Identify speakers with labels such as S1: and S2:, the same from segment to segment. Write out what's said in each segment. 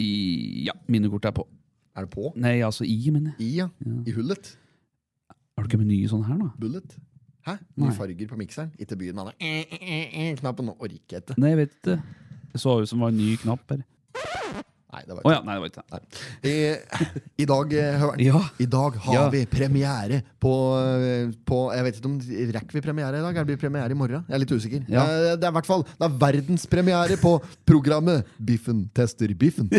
S1: I, ja, minnekortet er på.
S2: Er det på?
S1: Nei, altså i, mener jeg.
S2: I, ja. I hullet.
S1: Har du ikke meny sånn her, da?
S2: Bullet. Hæ? Nye
S1: Nei.
S2: farger på mikseren. Ikke byen, Eh, han er Knappen orker jeg ikke.
S1: Nei, jeg vet ikke. Det så ut som det var en ny knapp her.
S2: Nei, det var
S1: Å ja, nei, det var ikke det.
S2: Nei. I, I dag, eh, Høveren,
S1: Ja.
S2: I dag har
S1: Ja.
S2: vi premiere på, eh, på Jeg vet ikke om rekker vi premiere i dag? Eller blir det premiere i morgen? Jeg er litt usikker.
S1: Ja.
S2: Eh, Det er i hvert fall Det er verdenspremiere på programmet Biffen tester biffen.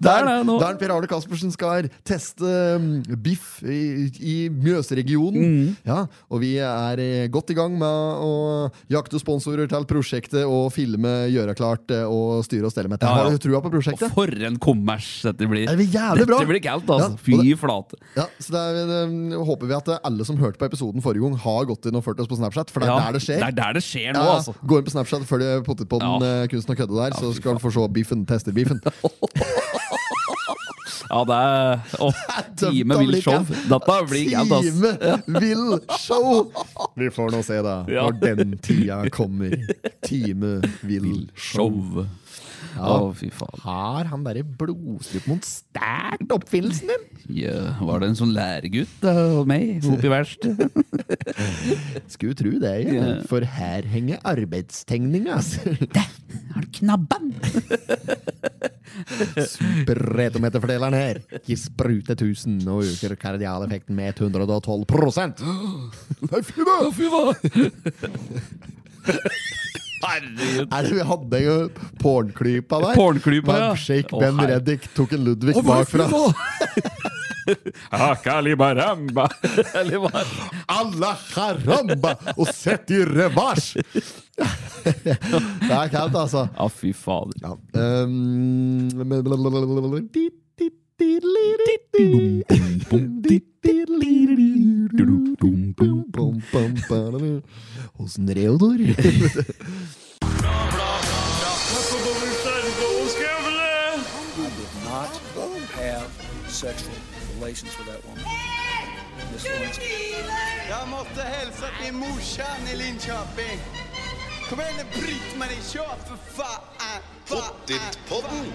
S2: Der,
S1: er det nå.
S2: der Per Arne Caspersen skal teste mm, biff i, i Mjøsregionen.
S1: Mm.
S2: Ja, og vi er eh, godt i gang med å jakte sponsorer til prosjektet og filme, gjøre klart eh, og styre og stelle med. det.
S1: Ja, ja.
S2: Har du trua på
S1: Og
S2: prosjektet?
S1: for en kommers dette blir.
S2: Det blir jævlig bra!
S1: Dette blir kaldt, altså.
S2: Ja, og
S1: Fy flate.
S2: Ja, så det er, eh, håper vi at alle som hørte på episoden forrige gang, har gått inn og fulgt oss på Snapchat, for det er
S1: Ja,
S2: der det skjer.
S1: Det er der det skjer nå,
S2: Ja,
S1: altså.
S2: Gå inn på Snapchat og følg Pottetpodden
S1: Ja.
S2: eh, Kunsten og kødde der, så
S1: fy
S2: skal du få se biffen tester biffen.
S1: Ja, det er oh, Time
S2: Dømt
S1: vil
S2: av
S1: show. Dette blir altså. galt, ass.
S2: Time vil show! Vi får nå se, da,
S1: Ja.
S2: når den tida kommer. Time vil show.
S1: Show. Å, fy faen.
S2: Har han derre blodstrupen mot sterkt oppfinnelsen din?
S1: Ja, var det en sånn læregutt av meg oppi verkstedet?
S2: Skulle tro det, ja.
S1: Ja.
S2: For her henger altså. arbeidstegninga.
S1: Har du knabben?
S2: Spretometerfordeleren her gir sprute 1000 og øker kardialeffekten med 112 Nei, fy da!
S1: Fy faen. Herregud.
S2: Er det vi hadde jo pornklypa der?
S1: Pornklypa, ja.
S2: Milkshake,
S1: Å,
S2: Ben
S1: her-
S2: Reddik tok en Ludvig bakfra.
S1: Hakalibaramba. Eller hva?
S2: Alla caramba! Og sett i revers! det er kaldt, altså.
S1: Ja, fy fader.
S2: Ja. Um, Hos Reodor.
S3: not have sexual relations with that woman. Miss Lewinsky.
S4: Jeg måtte hilse til morsan i Linköping. Kom igjen, Britt-Marie, kjør, for faen! Pottit-podden!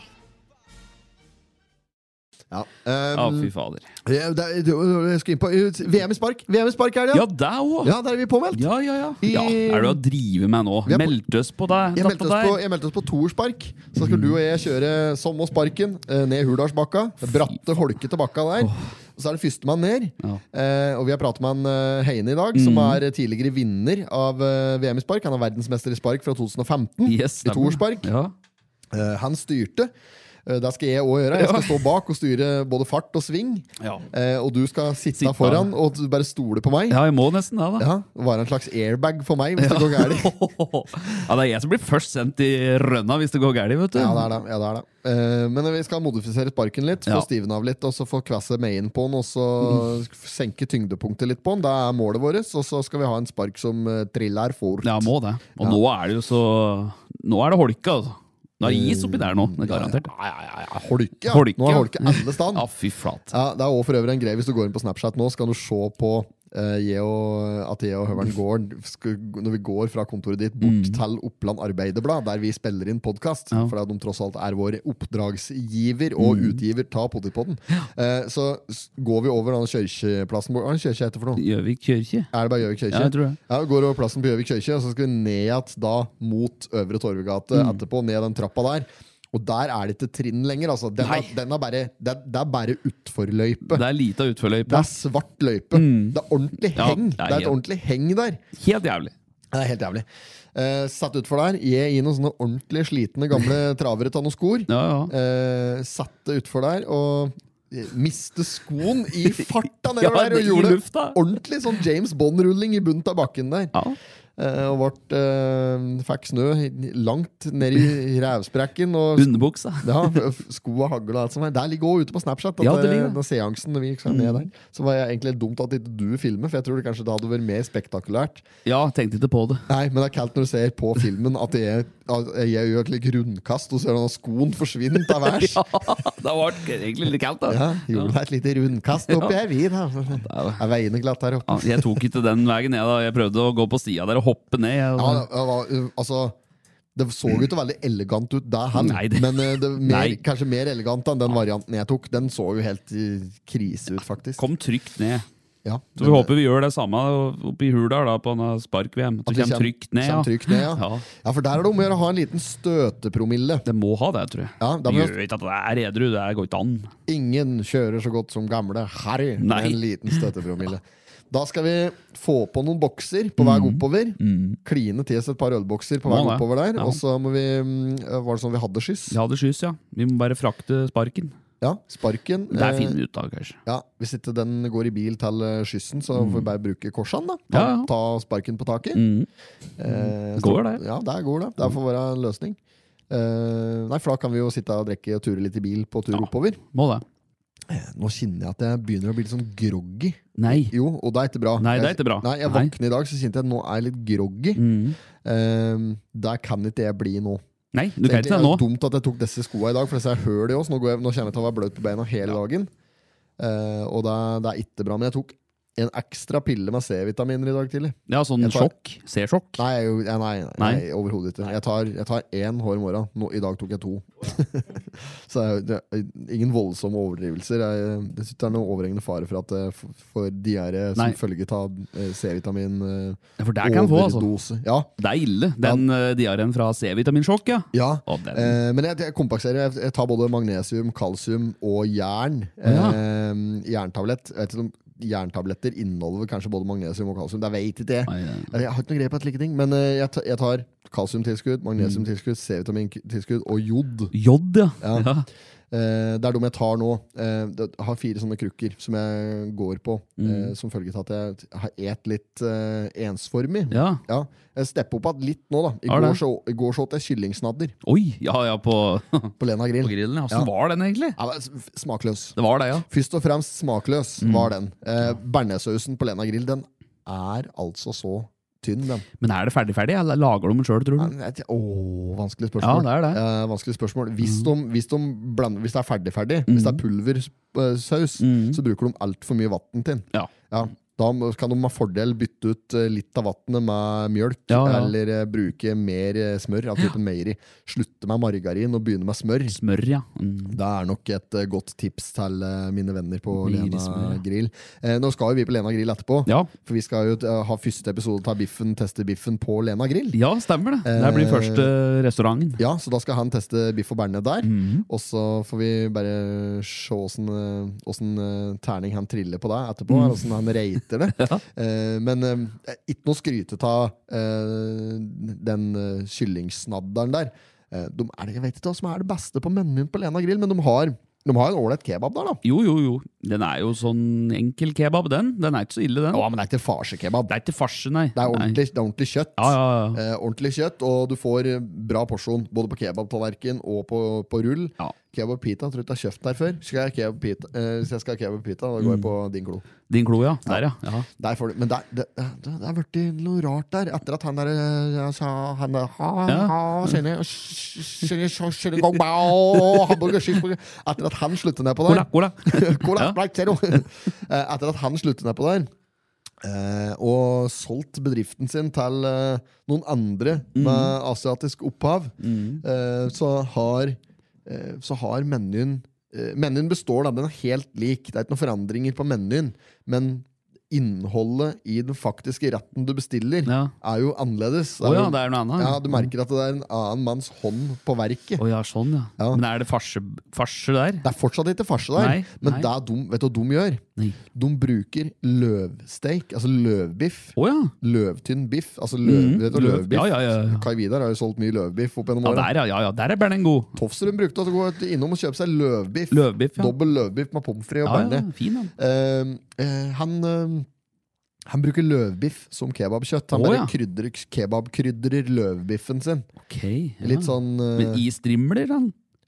S2: Ja,
S1: Ja,
S2: um,
S1: fy fader.
S2: jeg, det- jeg skal inn på VM i spark. VM i spark er det,
S1: Ja,
S2: ja!
S1: deg òg.
S2: Ja, der er vi påmeldt.
S1: Ja, ja, ja.
S2: I-
S1: ja. Er det å drive med nå?
S2: Vi er på-
S1: Meldte oss på deg.
S2: Jeg meldte,
S1: dette
S2: oss på,
S1: der.
S2: jeg meldte oss på toerspark. Så skulle du og jeg kjøre som og sparken eh, ned Hurdalsbakka. Bratte, holkete bakka der. Og så er det førstemann ned.
S1: Ja. Mm.
S2: Eh, og vi har pratet med han eh, Heine i dag, som er eh, tidligere vinner av eh, VM i spark. Han er verdensmester i spark fra 2015.
S1: Yes,
S2: I
S1: stemmer.
S2: toerspark.
S1: Ja.
S2: Eh, han styrte. Eh, det skal jeg òg gjøre. Jeg skal stå bak og styre både fart og sving.
S1: Ja.
S2: Eh, og du skal sitte,
S1: Sitte.
S2: foran og du bare stole på meg.
S1: ja, jeg må nesten det, da.
S2: Ja, Være en slags airbag for meg hvis det går gærent.
S1: Ja, det er jeg som blir først sendt i rønna hvis det går galt, vet du.
S2: Ja, det er det. Ja, det, er det. Eh, men vi skal modifisere sparken litt, få
S1: Ja. Mm.
S2: stivne av litt, og så få kvasse meien på den, og så senke tyngdepunktet litt på den. Det er målet vårt. Og så skal vi ha en spark som uh, triller fort.
S1: Ja, må det. Og
S2: Ja.
S1: nå er det jo så Nå er det holke, altså. Nå er det is oppi der nå. Det er garantert.
S2: Ja, ja, ja, ja. Holke, ja.
S1: Holke,
S2: Nå er
S1: ja.
S2: holke alle stand.
S1: Ja, fy flate.
S2: Ja, det er også for øvrig en greie hvis du går inn på Snapchat nå, så kan du se på eh, jeg og, at jeg og Høveren går skal, når vi går fra kontoret ditt bort til Oppland Arbeiderblad, der vi spiller inn podkast,
S1: Mm. Ja. Mm.
S2: fordi at de tross alt er vår oppdragsgiver og utgiver ta Potipodden. Eh, så s- går vi over den kirkeplassen Hva er det kirke heter for noe?
S1: Gjøvik kirke.
S2: Er det bare Gjøvik kirke?
S1: Ja, jeg tror det.
S2: Ja, vi går over plassen på Gjøvik kirke, og så skal vi ned igjen da mot Øvre Torvegate
S1: Mm.
S2: etterpå, ned den trappa der. Og der er det ikke trinn lenger. altså. Den
S1: Nei.
S2: er, den er bare, det, er- det er bare utforløype.
S1: Det er lita
S2: Det
S1: utførløype.
S2: er svart løype. Det er ordentlig
S1: Mm. Ja,
S2: heng.
S1: det er
S2: det er et
S1: helt-
S2: ordentlig heng der.
S1: Helt jævlig.
S2: Det er helt jævlig. Eh, satt utfor der, jeg i noen sånne ordentlig slitne gamle travere av noen skor.
S1: Ja, ja.
S2: Eh, satt det utfor der og eh, miste skoen i farta
S1: Ja,
S2: nedover
S1: i
S2: der og gjorde
S1: lufta.
S2: ordentlig sånn James Bond-rulling i bunnen av bakken der.
S1: ja.
S2: Eh, og vart, eh, fikk snø langt ned i rævsprekken. Og
S1: Underbuksa.
S2: ja, f- f- sko og hagl og alt som er. Der ligger også ute på Snapchat. At
S1: Ja, det
S2: det
S1: ligger Mm. det.
S2: den seansen når vi gikk ned der Så var jeg egentlig litt dumt at ikke du filmer, for jeg tror det kanskje det hadde vært mer spektakulært.
S1: Ja, tenkte ikke på det.
S2: Nei, men det er kaldt når du ser på filmen at det er, al- Jeg gjør et litt rundkast, og så er det noen skoen forsvinner av værs.
S1: Ja, det var egentlig litt kaldt, da.
S2: Ja, gjorde deg et lite rundkast oppi her, vi, da. Er veiene glatt her oppe?
S1: Ja, jeg tok ikke den veien, jeg. da Jeg prøvde å gå på sida der og hoppe ned. Jeg,
S2: Ja, det var, uh, altså det så jo ikke veldig elegant ut der, hen,
S1: Nei, det-
S2: men uh, det, mer,
S1: Nei.
S2: kanskje mer elegant enn den varianten jeg tok. Den så jo helt uh, krise ut, faktisk.
S1: Kom trygt ned.
S2: Ja,
S1: Så vi
S2: men-
S1: håper vi gjør det samme oppe i Hurdal da, på denne spark-VM. At
S2: At
S1: vi
S2: vi
S1: kommer
S2: kjem-
S1: trygt ned.
S2: kjem trygt ned, ja.
S1: Ja.
S2: Ja, for der er det om å gjøre å ha en liten støtepromille.
S1: Det må ha det, tror jeg.
S2: Ja, da
S1: det
S2: må-
S1: gjør ikke at det er edru. Det går ikke an.
S2: Ingen kjører så godt som gamle Harry med
S1: Nei.
S2: en liten støtepromille. Da skal vi få på noen bokser på vei oppover. Kline til oss et par ølbokser på vei
S1: Mm. Må det.
S2: oppover der.
S1: Ja.
S2: Og så må vi mm, Var det sånn vi hadde skyss?
S1: Vi hadde skyss, ja. Vi må bare frakte sparken.
S2: Ja, sparken. eh,
S1: Der finner vi ut av, kanskje.
S2: Ja, Hvis ikke den går i bil til eh, skyssen, så får vi bare bruke korsene. da Ta,
S1: Mm. Ja, ja.
S2: ta sparken på taket.
S1: Mm.
S2: Eh,
S1: Går
S2: så-
S1: det.
S2: Ja, der går det. Det får være en løsning. Eh, nei, for da kan vi jo sitte og drikke og ture litt i bil på tur oppover.
S1: Må det.
S2: Nå kjenner jeg at jeg begynner å bli litt sånn groggy.
S1: Nei.
S2: Jo, og det er ikke bra.
S1: Nei, det er
S2: Jeg-
S1: ikke bra.
S2: Nei, Jeg
S1: Nei.
S2: våkner i dag, så kjente jeg at nå er jeg litt groggy.
S1: Mm.
S2: Ehm, der kan ikke jeg bli nå.
S1: Nei, du kan
S2: Egentlig
S1: ikke det
S2: er
S1: nå.
S2: det dumt at jeg tok disse skoene i dag, for disse er høl i oss. Nå, går jeg, nå kommer jeg til å være bløt på beina hele dagen. Eh, og det, er- det er ikke bra. Men jeg tok en ekstra pille med C-vitaminer i dag tidlig.
S1: Ja, sånn
S2: Jeg tar-
S1: sjokk. C-sjokk.
S2: Nei, jeg gjorde- ja, nei, nei,
S1: Nei.
S2: nei overhodet ikke. Jeg tar, jeg tar én hår i morgen. Nå, I dag tok jeg to. så det er, det er ingen voldsomme overdrivelser. Jeg, det synes ikke det er noen overhengende fare for at jeg f- får diaré som
S1: Nei.
S2: følge av eh, C-vitamin. Eh,
S1: Ja, For det kan få, altså.
S2: Overdose. Ja,
S1: Det er ille, den ja. diareen fra C-vitaminsjokk, ja.
S2: ja.
S1: Å, den-
S2: Eh, men jeg, jeg kompenserer. Jeg, jeg tar både magnesium, kalsium og jern.
S1: Ja.
S2: Eh, jerntablett. Jeg vet ikke om jerntabletter inneholder kanskje både magnesium og kalsium. Det vet ikke jeg.
S1: Nei, det-
S2: Jeg har ikke noe greie på slike ting, men eh, jeg, ta- jeg tar kalsiumtilskudd,
S1: Mm.
S2: magnesiumtilskudd, C-vitamintilskudd og jod.
S1: Jod, ja.
S2: Ja.
S1: ja.
S2: Eh, det er de jeg tar nå. Eh, det- jeg har fire sånne krukker som jeg går på,
S1: Mm.
S2: eh, som følge av at jeg har et litt eh, ensformig.
S1: ja.
S2: Ja, jeg stepper opp igjen litt nå, da. I
S1: Har
S2: går,
S1: det.
S2: så, I går så åt jeg kyllingsnadder
S1: Oi! Ja, ja, på, på
S2: på Lena Grill.
S1: grillen. ja.
S2: Ja.
S1: Åssen var den egentlig?
S2: Ja, men s- smakløs.
S1: Det var det, ja.
S2: Først og fremst smakløs
S1: Mm.
S2: var den. Eh, Bearnéssausen på Lena Grill den er altså så tynn, den.
S1: Men er det ferdig-ferdig, eller lager du den sjøl, tror du?
S2: Nei, jeg- Åh, vanskelig spørsmål.
S1: Ja, det Mm. er det.
S2: Eh, vanskelig spørsmål. Hvis, de, hvis, de blander, hvis det er ferdig-ferdig,
S1: Mm.
S2: hvis det er pulversaus, så bruker de altfor mye vann til den.
S1: Ja.
S2: Ja, da må- kan de med fordel bytte ut eh, litt av vannet med mjølk,
S1: Ja, ja.
S2: eller eh, bruke mer eh, smør av typen meieri. Slutte med margarin og begynne med smør.
S1: Smør, ja. Mm.
S2: Det er nok et eh, godt tips til eh, mine venner på
S1: Mye
S2: Lena
S1: smør, ja.
S2: Grill. Eh, nå skal jo vi på Lena Grill etterpå,
S1: Ja.
S2: for vi skal jo eh, ha første episode av Biffen teste biffen på Lena Grill.
S1: ja, stemmer det. Det her blir
S2: Eh,
S1: første restauranten.
S2: Ja, så da skal han teste biff og bearnés der.
S1: Mhm.
S2: Og så får vi bare se åssen, eh, åssen eh, terning han triller på deg etterpå.
S1: Mhm.
S2: eller Åssen han rater det. Eh, Men eh, ikke noe skryte av eh, den eh, kyllingsnadderen der. Eh, De er, det- jeg vet ikke hva som er det beste på menyen på Lena Grill, men de har, de har en ålreit kebab der, da.
S1: Jo, jo, jo. Den er jo sånn enkel kebab, den. Den er ikke så ille, den.
S2: Ja, men det er ikke farsekebab.
S1: Det er ikke farse, nei.
S2: Det er
S1: Nei.
S2: ordentlig, det er ordentlig kjøtt.
S1: Ja, ja, ja.
S2: Eh, ordentlig kjøtt, og du får eh, bra porsjon både på kebabtallerken og på, på rull.
S1: Ja.
S2: Kebab pita, tror du ikke jeg har kjøpt den her før? Skal jeg ha kebab pita, eh, hvis jeg skal ha kebab pita, da går jeg på din klo.
S1: Din klo, ja. Der, ja. ja.
S2: Der får du, men der, det, det, det er blitt noe rart der, etter at han der eh, jeg sa han der, ha,
S1: Ja.
S2: ha, kjenner, kjenner, kjenner, kjenner, gong, bao, hamburger, cheeseburger. Etter at han slutter ned på der.
S1: Cola, cola.
S2: Cola,
S1: Ja.
S2: Sprite Zero. Eh, Etter at han sluttet ned på der, eh, og solgt bedriften sin til eh, noen andre
S1: Mm.
S2: med asiatisk opphav, eh, så har, eh, så har menyen eh, Menyen består, da. Den er helt lik. Det er ikke noen forandringer på menyen. Men innholdet i den faktiske retten du bestiller,
S1: Ja.
S2: er jo annerledes.
S1: Å ja,
S2: jo-
S1: det er noe annet.
S2: ja, Du merker at det er en annen manns hånd på verket.
S1: Å ja, sånn, ja.
S2: Ja.
S1: Men er det farse, farse der?
S2: Det er fortsatt ikke farse der,
S1: Nei,
S2: men
S1: nei.
S2: Det er dum, vet du hva de gjør?
S1: Nei.
S2: De bruker løvsteik, altså løvbiff.
S1: Å ja.
S2: Løvtynn biff. Altså løv,
S1: Mhm,
S2: vet du,
S1: løv.
S2: løvbiff.
S1: Ja, ja, ja, ja.
S2: Kai Vidar har jo solgt mye løvbiff opp gjennom
S1: Ja,
S2: åra.
S1: der, ja, ja, ja. Der er Bernen god.
S2: Tofsrud brukte å gå ut- altså, innom og kjøpe seg løvbiff.
S1: Løvbiff, ja.
S2: Dobbel løvbiff med pommes frites og
S1: Ja, ja,
S2: bearnés.
S1: fin, den.
S2: Eh, eh, han, eh, han bruker løvbiff som kebabkjøtt. Han
S1: Å,
S2: bare
S1: ja.
S2: krydrer, kebabkrydrer løvbiffen sin.
S1: Ok. Ja.
S2: Litt sånn eh,
S1: Men i strimler, da?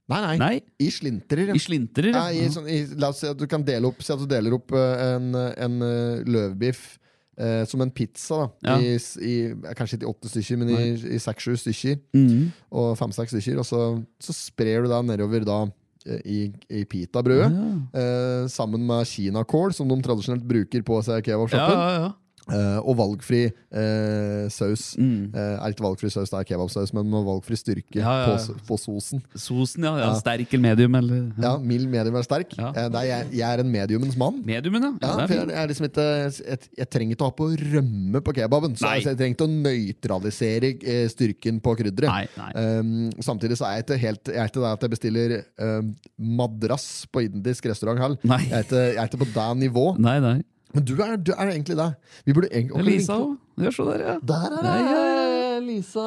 S2: Nei, nei.
S1: Nei,
S2: I slintrer. ja.
S1: i slintrer.
S2: Nei, i,
S1: ja.
S2: sånn, i, la oss si at du kan dele opp Si at du deler opp eh, en, en eh, løvbiff eh, som en pizza. da
S1: Ja.
S2: I, s- i, Kanskje ikke i åtte stykker, men i, i seks-sju stykker.
S1: Mm.
S2: Og fem-seks stykker. Og så, så sprer du det nedover da eh, i, i pitabrødet. Eh, sammen med kinakål, som de tradisjonelt bruker på seg i
S1: Ja,
S2: kebabshoppen.
S1: ja, ja.
S2: Eh, og valgfri eh, saus. Eh, er ikke valgfri saus, det er kebabsaus, men med valgfri styrke
S1: Mm. Ja, ja, ja.
S2: På, s- på sosen.
S1: Sosen, ja. ja. Sterk eller medium, eller
S2: Ja, Mild medium er sterk.
S1: Ja.
S2: Eh, det er, jeg, jeg er en mediumens mann.
S1: Mediumen, ja. ja,
S2: Ja,
S1: det er
S2: for jeg,
S1: fint.
S2: jeg, er liksom ikke, jeg, jeg trenger ikke å ha på rømme på kebaben. Så
S1: Nei.
S2: altså, jeg trenger ikke å nøytralisere eh, styrken på krydderet.
S1: Nei, nei.
S2: Um, samtidig så er jeg ikke helt Jeg er ikke der at jeg bestiller um, madrass på indisk restaurant. Hal.
S1: Nei.
S2: Jeg, er ikke, jeg er ikke på det nivå.
S1: Nei, nei.
S2: Men du er, du er egentlig det. Vi burde egentlig,
S1: Det er Lisa òg. Gjør så der, ja.
S2: Der er det! Lisa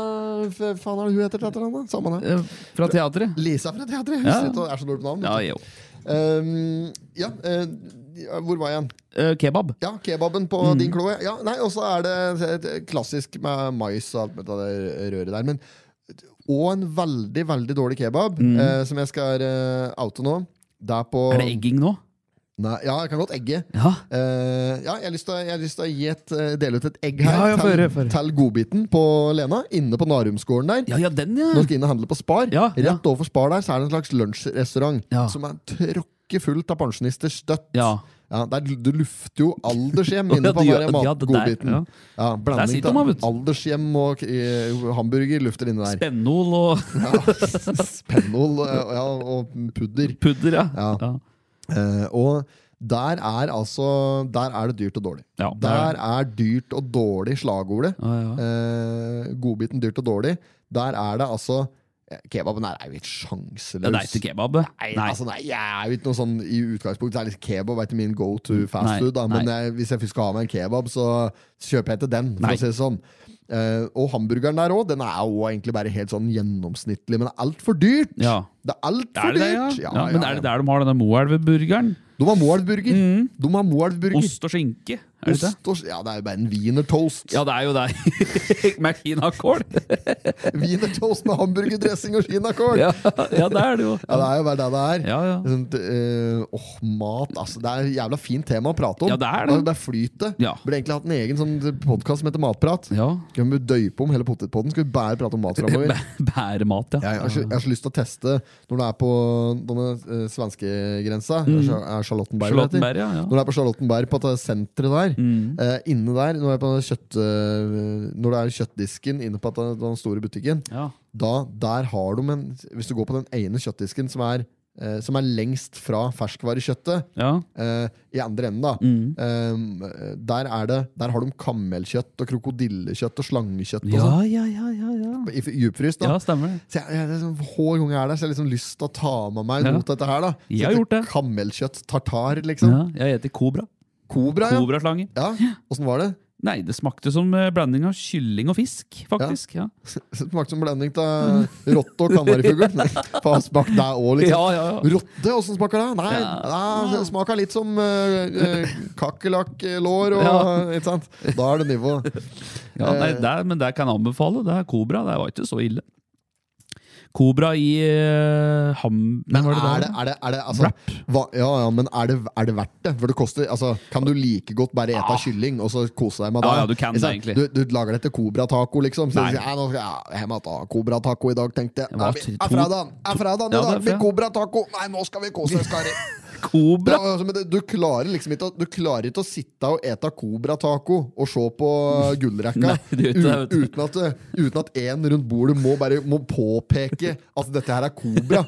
S2: Hva faen er det hun heter til etternavn? da? Samme det.
S1: Eh, Fra teatret.
S2: Lisa fra teatret.
S1: Ja.
S2: Hun er så dårlig på navn.
S1: Ja,
S2: vet
S1: jo.
S2: du. Um, ja, eh, hvor var jeg igjen?
S1: Eh, Kebab.
S2: Ja, kebaben på
S1: Mm.
S2: din klo. ja. Ja, nei, og så er det et klassisk med mais og alt med det der røret der. Men, og en veldig, veldig dårlig kebab, eh, som jeg skal eh, oute nå. Det er på
S1: Mm. Er det egging nå?
S2: Nei, ja, jeg kan godt egge.
S1: Ja.
S2: Eh, ja, jeg har lyst til å- jeg har lyst til å gi et, eh, dele ut et egg her
S1: Ja, ja, få høre, få høre.
S2: til, til godbiten på Lena, inne på Narumsgården der.
S1: Ja, ja, den, ja.
S2: Når du skal inn og handle på Spar,
S1: Ja,
S2: rett
S1: ja.
S2: overfor Spar der, så er det en slags lunsjrestaurant
S1: Ja.
S2: som er tråkkefullt av pensjonister støtt.
S1: Ja.
S2: Ja, der, du lufter jo aldershjem inne på
S1: Ja,
S2: den
S1: de-
S2: der
S1: ja, det der,
S2: matgodbiten. Ja,
S1: ja. Der
S2: blanding
S1: sitter man, vet
S2: av
S1: du.
S2: aldershjem og eh, hamburger lufter inni der.
S1: Spennol og
S2: Ja, Spennol eh, ja, og pudder.
S1: pudder, ja.
S2: Ja.
S1: Ja.
S2: Eh, og der er altså Der er det dyrt og dårlig.
S1: Ja, det er
S2: der er dyrt og dårlig slagordet.
S1: Ja, ja.
S2: Eh, godbiten dyrt og dårlig. Der er det altså eh, Kebaben her er jo helt sjanseløs.
S1: Ja, Det er ikke kebab.
S2: Nei,
S1: Nei.
S2: Altså, nei, jeg er jo ikke noe sånn i utgangspunktet. Det er litt kebab er ikke min go to fast
S1: Nei,
S2: food. Da. Men
S1: nei.
S2: jeg, hvis jeg først skal ha meg en kebab, så kjøper jeg ikke den. For
S1: Nei.
S2: å si det sånn Eh, Og hamburgeren der òg, den er jo egentlig bare helt sånn gjennomsnittlig. Men det er altfor dyrt!
S1: Ja.
S2: Det er altfor
S1: Er det det, ja?
S2: dyrt!
S1: ja, Men er det der de har denne Moelv-burgeren?
S2: De har Moelv-burger! De har Moelv-burger.
S1: Ost og skinke? Er det det?
S2: Ost og Ja, det er jo bare en wienertoast.
S1: Ja, det er jo det. Med kinakål.
S2: Wienertoast med hamburgerdressing og kinakål!
S1: Ja, ja, det er det jo.
S2: Ja, det er jo bare det det er.
S1: Ja, ja.
S2: Sånt, eh, åh, mat, altså. Det er et jævla fint tema å prate om.
S1: Ja, det er det.
S2: Det er flytet.
S1: Ja.
S2: Burde egentlig hatt en egen sånn podkast som heter Matprat.
S1: Ja.
S2: Skal vi døype om hele potetpotten? Skal vi bare prate om mat framover?
S1: Bæ- Bæremat, ja.
S2: Jeg har, så, jeg har så lyst til å teste når du er på denne eh, svenskegrensa. Er Charlottenberg, det heter?
S1: Mm. Charlottenberg, Mm. ja, ja.
S2: Når du er på Charlottenberg, på det senteret der, eh, inne der, når, jeg er på kjøtt, eh, når det er kjøttdisken inne på den den store butikken,
S1: Ja.
S2: da, der har de en Hvis du går på den ene kjøttdisken som er, eh, som er lengst fra ferskvarekjøttet,
S1: Ja.
S2: eh, i andre enden, da,
S1: Mm.
S2: eh, der, er det, der har de kammelkjøtt og krokodillekjøtt og slangekjøtt og
S1: Ja,
S2: sånn.
S1: ja, ja, ja, ja.
S2: I f- djupfryst, da.
S1: Ja, stemmer det.
S2: Så jeg, jeg, liksom, hver gang jeg er der, så har jeg liksom lyst til å ta med meg
S1: Ja.
S2: noe til dette her. da Så
S1: Jeg har
S2: litt
S1: gjort det.
S2: Kammelkjøtt tartar, liksom.
S1: Ja, jeg heter Kobra.
S2: Kobra, ja.
S1: Kobraslange.
S2: ja. Åssen var det?
S1: Nei, det smakte som eh, blanding av kylling og fisk, faktisk. Ja,
S2: Smakte som blanding av rotte og kanarifugl. Nei, Faen, smak det òg,
S1: ja,
S2: liksom.
S1: ja.
S2: Rotte, åssen smaker det? Nei,
S1: Ja.
S2: det smaker litt som uh, kakerlakklår og
S1: Ja.
S2: Ikke sant? Da er det nivå.
S1: ja nei,
S2: Eh.
S1: det, er- men det kan jeg anbefale. Det er Kobra. Det var ikke så ille. Kobra i eh, ham...
S2: Men
S1: Hva
S2: er
S1: var det der?
S2: det, er det, er det altså,
S1: Wrap.
S2: hva, ja, ja, men er det, er det verdt det? For det koster, altså, kan du like godt bare ete kylling og så kose deg med det?
S1: Ah. Ja, ja, du kan det egentlig.
S2: Du, du lager det til kobrataco, liksom. Så
S1: Nei.
S2: du sier, «Ja, nå skal jeg hjem og ta kobrataco i dag, tenkte jeg.
S1: var
S2: Ja,
S1: to-
S2: vi- Er fredagen er fredagen i
S1: Ja, det
S2: dag,
S1: er
S2: det blir
S1: fredag.
S2: kobrataco! Nei, nå skal vi kose oss, karer! Det
S1: Kobra!
S2: er altså, men det- Du klarer liksom ikke å, Du klarer ikke å sitte og ete kobrataco og se på eh, gullrekka
S1: Nei, det gjør ikke det, vet du.
S2: u- uten, at, det- uten at en rundt bordet må bare må påpeke at dette her er kobra.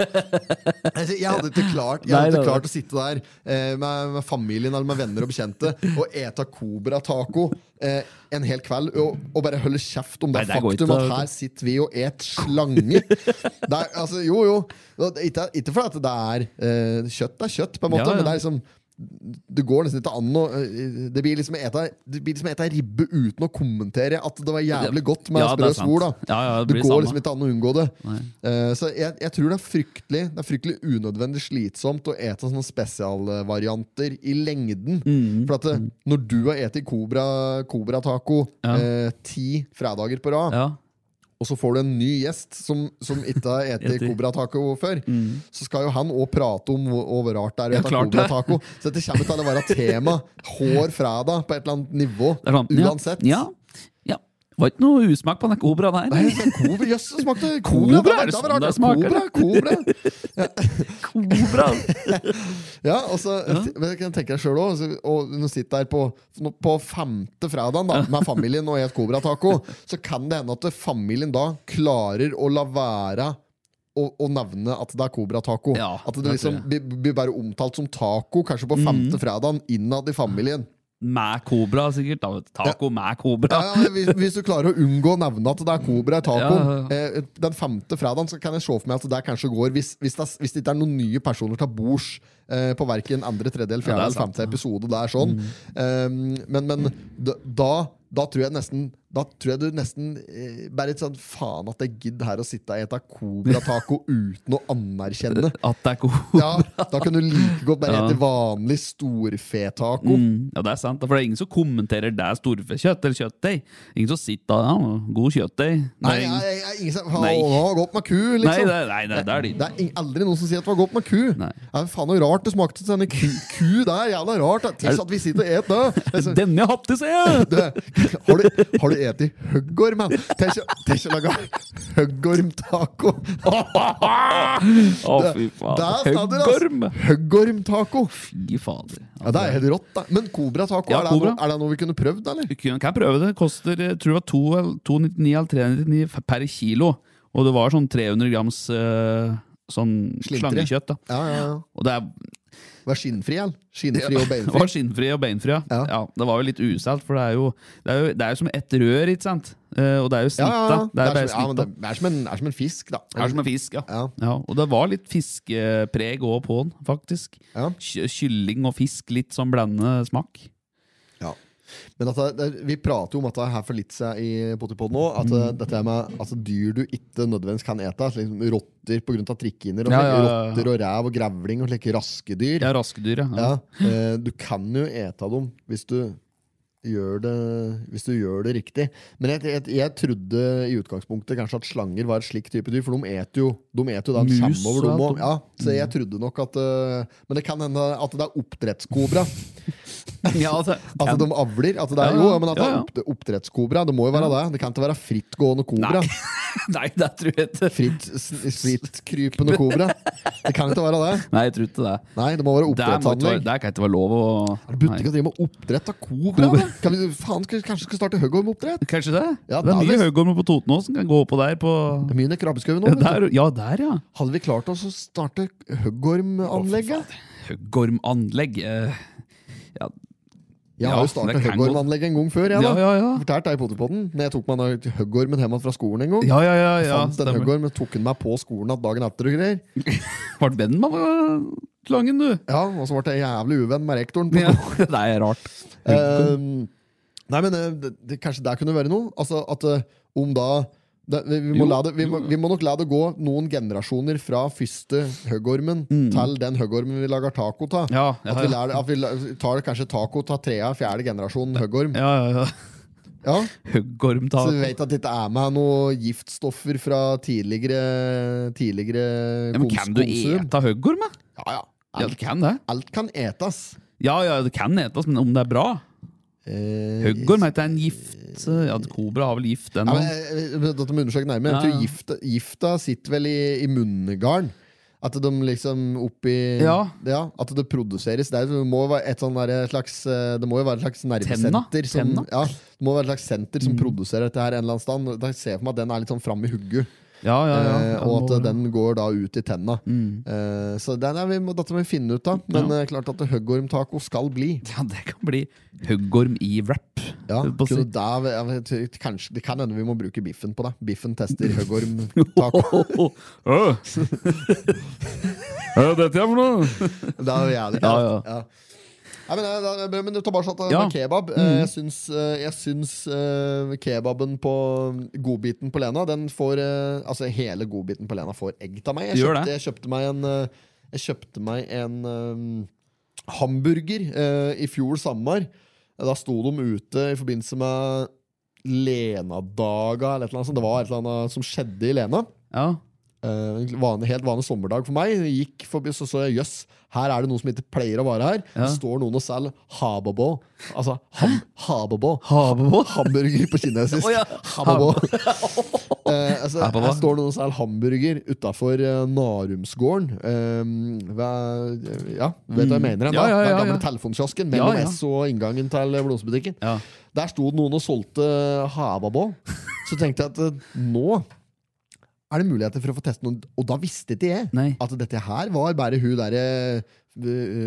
S2: Altså, jeg hadde ikke klart, jeg hadde
S1: Nei,
S2: ikke
S1: nei,
S2: klart å sitte der eh, med, med familien eller med venner og bekjente og ete kobrataco eh, en hel kveld og, og bare holde kjeft om det,
S1: Nei, det går
S2: faktum
S1: ikke,
S2: at
S1: vet du.
S2: her sitter vi og et slange. Det er, altså, jo, jo. Det er Ikke, ikke fordi at det er eh, kjøtt er kjøtt, på en måte,
S1: Ja, ja.
S2: men det er liksom det går nesten ikke an å eh, Det blir liksom eta, det blir liksom eta ribbe uten å kommentere at det var jævlig godt med
S1: Ja, det
S2: sprø
S1: er sant.
S2: svor. da
S1: Ja, ja,
S2: det,
S1: det blir
S2: går
S1: samme.
S2: liksom ikke an å unngå det. Eh, så jeg, jeg tror det er fryktelig Det er fryktelig unødvendig slitsomt å ete sånne spesialvarianter i lengden.
S1: Mm.
S2: For at det, når du har spist Cobra Cobra Taco
S1: Ja.
S2: eh, ti fredager på rad,
S1: Ja.
S2: og så får du en ny gjest som, som ikke har spist
S1: Etter.
S2: cobrataco før, så skal jo han òg prate om hvor, hvor rart det er å
S1: Mm. Ja,
S2: spise
S1: klart det.
S2: cobrataco. Så dette kommer til å være tema hver fredag på et eller annet nivå.
S1: Det er sånn, ja,
S2: Uansett.
S1: Ja, ja. Var ikke noe usmak på den kobraen her.
S2: Nei,
S1: eller?
S2: så Kobra, jøss, det smakte kobra!
S1: Kobra, er det
S2: det
S1: sånn
S2: var
S1: det
S2: rart.
S1: smaker?
S2: Kobra, kobra.
S1: Kobra!
S2: Ja, og så men jeg kan tenke deg selv også, så- og Når du sitter der på, på femte fredagen da, med familien og et cobrataco, så kan det hende at familien da klarer å la være å, å nevne at det er cobrataco.
S1: Ja,
S2: at det
S1: det
S2: liksom
S1: tror Mhm.
S2: blir blir bare omtalt som taco, kanskje på femte fredagen innad i familien.
S1: Med kobra, sikkert. Da. Taco med kobra.
S2: Ja, ja, hvis, hvis du klarer å unngå å nevne at det er kobra i tacoen
S1: Ja,
S2: eh, Den femte fredagen så kan jeg se for meg at det kanskje går hvis, hvis, det, hvis det ikke er noen nye personer til bords eh, på verken andre, tredje, eller fjerde
S1: Ja, det er sant,
S2: eller
S1: Mm.
S2: femte episode. Det er sånn. Eh, men men d- da, da tror jeg nesten da tror jeg du nesten eh, bare litt sånn Faen at jeg gidder her å sitte og ete cobrataco uten å anerkjenne.
S1: At det er kobra.
S2: Ja, Da kan du like godt bare
S1: Ja.
S2: hete vanlig storfetaco.
S1: Mm, ja, det er sant. For det er ingen som kommenterer det er storfekjøtt eller kjøttdeig. Ingen som sitter der ja, god kjøttdeig. Det er
S2: Nei,
S1: ingen-
S2: jeg, jeg, jeg, ingen som
S1: Nei.
S2: har gått med ku, liksom.
S1: Nei, det, er- nei, det, det er de.
S2: Det er ing- aldri noen som sier at det var godt med ku.
S1: Nei.
S2: Ja, faen noe rart det smakte til denne ku, ku der. Jævla rart. da. Tiss sånn at vi sitter og et det. Det er så-
S1: Denne hatten, ser jeg!
S2: Du, har du, har du et høggorm, mann? Tenk å- tenk å lage høggormtaco.
S1: Å, fy
S2: Der
S1: fader.
S2: står det, altså.
S1: Høggorm!
S2: Høggormtaco.
S1: Fy fader.
S2: Ja, det er helt rått, da. Men cobrataco,
S1: Ja,
S2: er, det
S1: kobra.
S2: noe- er det noe vi kunne prøvd, eller?
S1: Du kunne- kan prøve det. Koster eh, tror jeg, 2 eller- 2,99 eller 399 f- per kilo. Og det var sånn 300 grams eh, sånn
S2: Slintre.
S1: slangekjøtt. da.
S2: Ja, ja, ja.
S1: Og det er,
S2: Vær skinnfri, eller? Skinnfri og
S1: det
S2: beinfri.
S1: var skinnfri og beinfri. Ja.
S2: Ja.
S1: Ja, det var jo litt uselt, for det er jo, det er jo, det er jo som ett rør, ikke sant? Eh, Og det er jo
S2: Ja,
S1: snitta.
S2: ja, ja.
S1: Det er bare
S2: som- ja,
S1: snitta.
S2: men det det er som en- det er som en fisk, da.
S1: Det er som en fisk, ja.
S2: Ja.
S1: Ja, og det var litt fiskepreg òg på den, faktisk.
S2: Ja.
S1: Ky- Kylling og fisk, litt sånn blandende smak.
S2: Ja. Men at det, det, vi prater jo om dette her for litt siden i Potipod nå, at
S1: Mm.
S2: eh, dette her med altså, dyr du ikke nødvendigvis kan ete, altså, liksom, rotter pga. trikkehinner, og
S1: Ja,
S2: slike
S1: ja, ja, ja.
S2: rotter og ræv og grevling og slike raske dyr
S1: Ja, raskedyr, ja.
S2: Ja, eh, Du kan jo ete dem hvis du gjør det, hvis du gjør det riktig. Men jeg, jeg, jeg trodde i utgangspunktet kanskje at slanger var et slik type dyr, for de eter jo de eter jo det
S1: Mus
S2: som kommer over
S1: og alt
S2: dem
S1: Mm.
S2: også. Ja, så jeg trodde nok at eh, Men det kan hende at det er oppdrettskobra.
S1: Ja, altså,
S2: Altså, de avler. At det
S1: Ja,
S2: er,
S1: ja.
S2: jo, ja, men at det
S1: Ja, ja.
S2: er opp, oppdrettskobra. Det må jo være det. Det kan ikke være frittgående kobra.
S1: Nei, det tror jeg ikke.
S2: Fritt, s- Frittkrypende kobra. Det kan ikke være det.
S1: Nei, jeg tror ikke det.
S2: Nei, det må
S1: Der,
S2: være
S1: må ikke være,
S2: oppdrettsanlegg.
S1: der kan ikke være lov å
S2: Er det butikk
S1: Nei.
S2: å drive med oppdrett av kobra? da? Kan vi, faen, skal, kanskje vi skal starte Høggorm-oppdrett?
S1: Kanskje det?
S2: Ja,
S1: det er
S2: da,
S1: mye
S2: hvis-
S1: Høgorm på Totenåsen. Kan gå oppå der på
S2: Det er Mye ned i krabbeskauen nå.
S1: ja,
S2: vet du.
S1: der, ja, der, ja.
S2: Hadde vi klart oss å starte Høggorm-anlegget?
S1: Høggormanlegg. eh, Ja,
S2: Jeg har
S1: Ja,
S2: jo starta
S1: det kan
S2: Høggorm-anlegg en gang før. Jeg, da.
S1: Ja, ja, ja.
S2: Fortalt deg i Potipodden. Når jeg tok meg den Høggormen hjem fra skolen en gang.
S1: ja, ja. ja, ja
S2: Fant en
S1: stemmer.
S2: høggorm, tok den meg på skolen at dagen etter og greier.
S1: Var det vennen med eh, Langen, du?
S2: Ja, Og så ble jeg jævlig uvenn med rektoren. på
S1: Ja, det er rart.
S2: Ehm, nei, men eh, det, det, kanskje der kunne være noe? Altså at eh, om da det, vi, vi, må
S1: Jo,
S2: la det, vi, må, vi må nok la det gå noen generasjoner fra første høggormen til den høggormen vi lager taco av.
S1: Mm. Ja, ja,
S2: At vi,
S1: ja.
S2: lær, at vi la- tar kanskje taco av tredje, fjerde generasjon høggorm.
S1: Ja, ja, ja.
S2: Ja, Så
S1: Høggormtak.
S2: vi vet at det ikke er med noe giftstoffer fra tidligere, tidligere
S1: Ja, men kan du ete høggorm? da?
S2: Ja, ja.
S1: Ja,
S2: Alt,
S1: du kan det.
S2: alt kan etes.
S1: Ja, ja, det kan etes, men om det er bra?
S2: Eh,
S1: Høggorm heter en gift Ja, Kobra har vel gift, den
S2: Ja, men,
S1: òg.
S2: eh, eh, dette må undersøke nærmere.
S1: Ja, ja.
S2: Jeg tror gifta, gifta sitter vel i, i munngarn. At de liksom oppi
S1: Ja.
S2: At det produseres der. Det må jo være et sånn derre slags eh, Det må jo være et slags nervesenter
S1: Tenna.
S2: som,
S1: Tenna. Mm.
S2: ja, Det må være et slags senter som produserer dette her en eller annen stand. Da ser jeg for meg at den er litt sånn fram i hugget,
S1: Ja, ja, ja.
S2: eh,
S1: Ja, må-
S2: og
S1: Mm.
S2: at den går da ut i tenna. Eh, så den er vi, må- dette må vi finne ut av. Men eh, klart at høggormtaco skal bli.
S1: Ja, det kan bli høggorm i wrap.
S2: Ja,
S1: Det er på
S2: kunne
S1: si-
S2: der, jeg vet, kanskje, det kan hende vi må bruke biffen på det. Biffen tester høggormtaco.
S1: Hva er dette her for noe?
S2: Det er jo jævlig
S1: Ja,
S2: kaldt. Ja, Nei, men, det- det er bra, men det tar bare sånn at det
S1: Ja. Mm.
S2: med kebab eh, Jeg syns, eh, jeg syns eh, kebaben på mm, godbiten på Lena Den får eh, Altså hele godbiten på Lena får egg av meg. Jeg
S1: Gjør
S2: kjøpte, jeg kjøpte meg en eh, Jeg kjøpte meg en eh, hamburger eh, i fjor sommer. Da sto de ute i forbindelse med Lena-daga, eller et eller annet sånt. Det var et eller annet som skjedde i Lena.
S1: Ja.
S2: Eh, en vanlig, helt vanlig sommerdag for meg. Jeg Gikk forbi, så så jeg jøss, her er det noen som ikke pleier å være her.
S1: Ja.
S2: Det står noen og selger hababo. Altså ham, hababo.
S1: Hababo?
S2: Hamburger på kinesisk.
S1: Å ja.
S2: Hababo. Eh, altså,
S1: Hababo.
S2: her står noen og selger hamburger utafor eh, Narumsgården. Eh, hva- ja, vet du hva jeg mener? hen, da?
S1: Mm. Ja, ja, ja,
S2: Den gamle
S1: ja.
S2: telefonkiosken
S1: Ja,
S2: mellom
S1: ja.
S2: S og inngangen til blomsterbutikken.
S1: Ja.
S2: Der sto det noen og solgte hababo. Så tenkte jeg at eh, nå er det muligheter for å få teste noen. Og da visste ikke jeg
S1: Nei.
S2: at dette her var bare hun derre eh,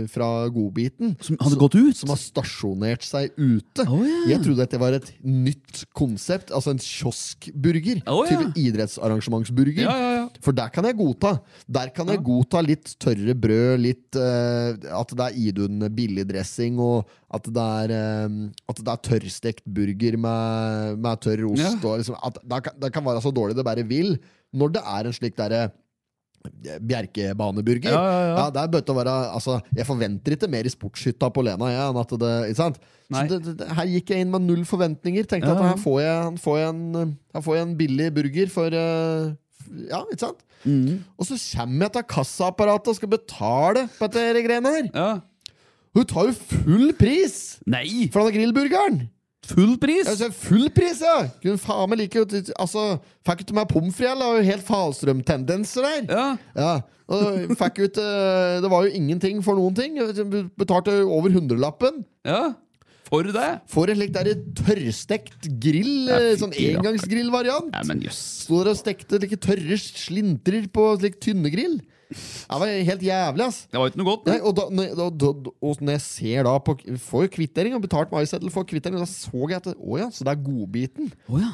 S2: fra godbiten.
S1: Som hadde gått ut?
S2: Som har stasjonert seg ute.
S1: Å, ja.
S2: Jeg trodde at det var et nytt konsept. Altså en kioskburger
S1: Å, ja.
S2: til idrettsarrangementsburger.
S1: Ja, ja, ja.
S2: For der kan jeg godta. Der kan jeg godta litt tørre brød, litt eh, at det er Idun billig dressing, og at det er, eh, at det er tørrstekt burger med, med tørr ost.
S1: Ja.
S2: Og liksom, at det, kan, det kan være så dårlig det bare vil, når det er en slik derre eh, Bjerkebaneburger.
S1: Ja, ja, ja.
S2: det er bøtt å være, altså, jeg forventer ikke mer i sportshytta på Lena. Jeg, enn at det, ikke sant? Så
S1: Nei.
S2: det, det, det- her gikk jeg inn med null forventninger. Tenkte
S1: Ja,
S2: at
S1: ja.
S2: her får, jeg, her får jeg en, her får jeg en billig burger for eh, f- Ja, ikke sant?
S1: Mm.
S2: Og så kommer jeg til kassaapparatet og skal betale på dette her greiene her.
S1: Ja.
S2: Hun tar jo full pris
S1: Nei!
S2: for denne grillburgeren!
S1: Full pris!
S2: Jeg ser full pris, ja! Kunne faen meg like godt Altså, Fikk ikke meg pommes frites, eller har jo helt Falstrøm-tendenser der.
S1: Ja.
S2: Ja, og fikk ut eh, Det var jo ingenting for noen ting. Betalte over hundrelappen.
S1: ja. For det?
S2: Får en slik der tørrstekt grill,
S1: Ja,
S2: eh,
S1: fy
S2: sånn
S1: rakker.
S2: engangsgrillvariant.
S1: Nei, men jøss.
S2: Sto der og stekte like tørre slintrer på slik tynne grill. Det var helt jævlig, ass.
S1: Det var ikke noe godt.
S2: Nei, og, da, når jeg- da, da, og når jeg ser da på Får jo kvittering, og betalt med iSettle for kvittering, og da så jeg at det- Å ja, så det er godbiten.
S1: Å ja.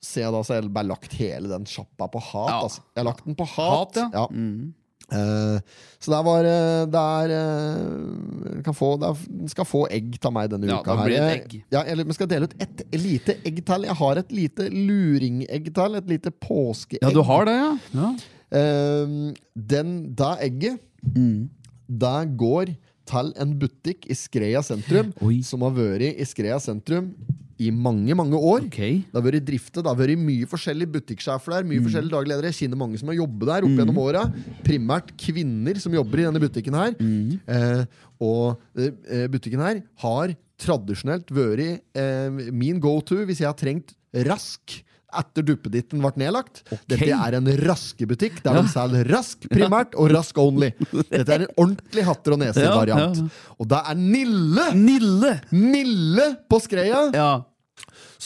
S2: Ser jeg da, så har jeg bare lagt hele den sjappa på hat.
S1: Ja.
S2: Altså. Jeg har lagt den på
S1: Hat,
S2: hat.
S1: ja. Mm.
S2: Ja. Eh, så det var eh, Det er eh, kan få, det er, den skal få egg av meg denne
S1: Ja,
S2: uka.
S1: da
S2: her
S1: blir det et
S2: Jeg-
S1: egg.
S2: Ja, eller vi skal dele ut et lite egg til. Jeg har et lite luringegg til. Et lite påskeegg.
S1: ja, du har det, ja? ja.
S2: Eh, den, det egget,
S1: Mm.
S2: det går til en butikk i Skreia sentrum
S1: Oi.
S2: som har vært i Skreia sentrum i mange, mange år.
S1: Ok.
S2: Det har vært driftet, det har vært mye forskjellige butikksjefer der.
S1: Mm.
S2: Mye forskjellige dagledere. Jeg kjenner mange som har jobbet der opp gjennom åra. Primært kvinner som jobber i denne butikken her.
S1: Mm.
S2: Eh, og eh, butikken her har tradisjonelt vært eh, min go-to hvis jeg har trengt rask. Etter duppeditten ble nedlagt. Dette er en raskebutikk der de selger rask primært og rask only. Dette er en ordentlig hatter og neser-variant.
S1: Ja, ja,
S2: Og det er Nille!
S1: Nille!
S2: Nille på Skreia!
S1: Ja.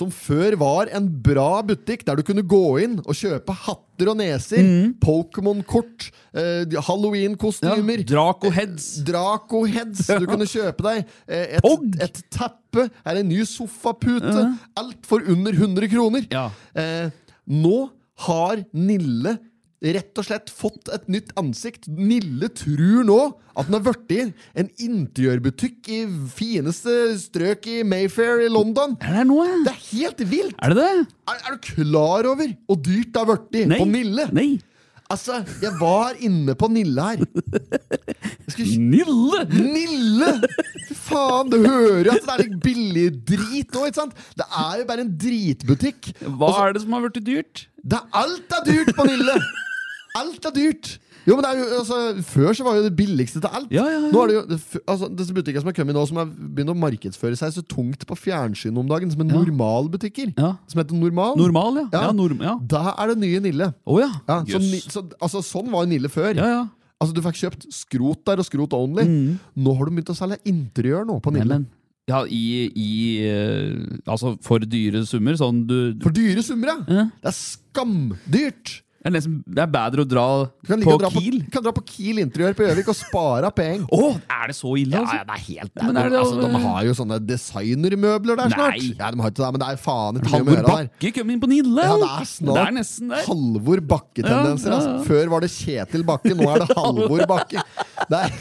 S2: som før var en bra butikk der du kunne gå inn og kjøpe hatter og neser,
S1: Mm.
S2: Pokémon-kort, eh,
S1: ja.
S2: Halloween-kostymer,
S1: Draco Heads.
S2: Draco-heads du kunne kjøpe deg, eh, et,
S1: Pog!
S2: et teppe, her en ny sofapute, alt for under 100 kroner.
S1: Ja.
S2: Eh, nå har Nille rett og slett fått et nytt ansikt. Nille tror nå at den har vært i en interiørbutikk i fineste strøk i Mayfair i London.
S1: Er det noe?
S2: Det er helt vilt!
S1: Er det det?
S2: Er, er du klar over hvor dyrt det har blitt på Nille?
S1: Nei.
S2: Altså, jeg var inne på Nille her. Jeg skulle
S1: Nille!
S2: Nille! Fy faen, du hører jo at det er litt billig drit nå, ikke sant? Det er jo bare en dritbutikk. Altså,
S1: Hva er det som har blitt dyrt?
S2: Det er alt er dyrt på Nille! Alt er dyrt! Jo, men det er jo, altså, Før så var jo det billigste til alt.
S1: Ja, ja, ja.
S2: Nå er det jo, det f- altså, Disse butikkene som har kommet nå, som har begynt å markedsføre seg så tungt på fjernsyn om dagen, som er normalbutikker.
S1: Ja.
S2: Som heter Normal.
S1: Normal, ja.
S2: Ja.
S1: Ja, norm, ja.
S2: Da er det nye Nille.
S1: Å ja.
S2: Ja, så,
S1: Jøss.
S2: ni, så, altså, sånn var Nille før.
S1: ja, ja.
S2: Altså, Du fikk kjøpt skrot der og skrot only. Nå har de begynt å selge interiør nå på Nille.
S1: Neimen. Ja, i, i eh, Altså, for dyre summer. Sånn du
S2: For dyre summer, ja!
S1: Ja.
S2: Det er skamdyrt!
S1: Det er, nesten, det er bedre å dra
S2: Du kan, like
S1: på
S2: å dra
S1: Kiel.
S2: På, kan dra på Kiel interiør på Gjøvik og spare penger.
S1: Å, er det så ille,
S2: Ja,
S1: altså?
S2: ja, det er helt
S1: Men er det-
S2: altså, De har jo sånne designermøbler der snart!
S1: Nei.
S2: Ja, de har ikke det, men det er faen ikke mye å
S1: Halvor
S2: gjøre der.
S1: Bakke kom inn på Nille!
S2: Ja, det er snart
S1: Det er nesten der.
S2: Halvor Bakke-tendenser.
S1: Ja, ja, ja.
S2: Altså. Før var det Kjetil Bakke, nå er det Halvor Bakke. Det er,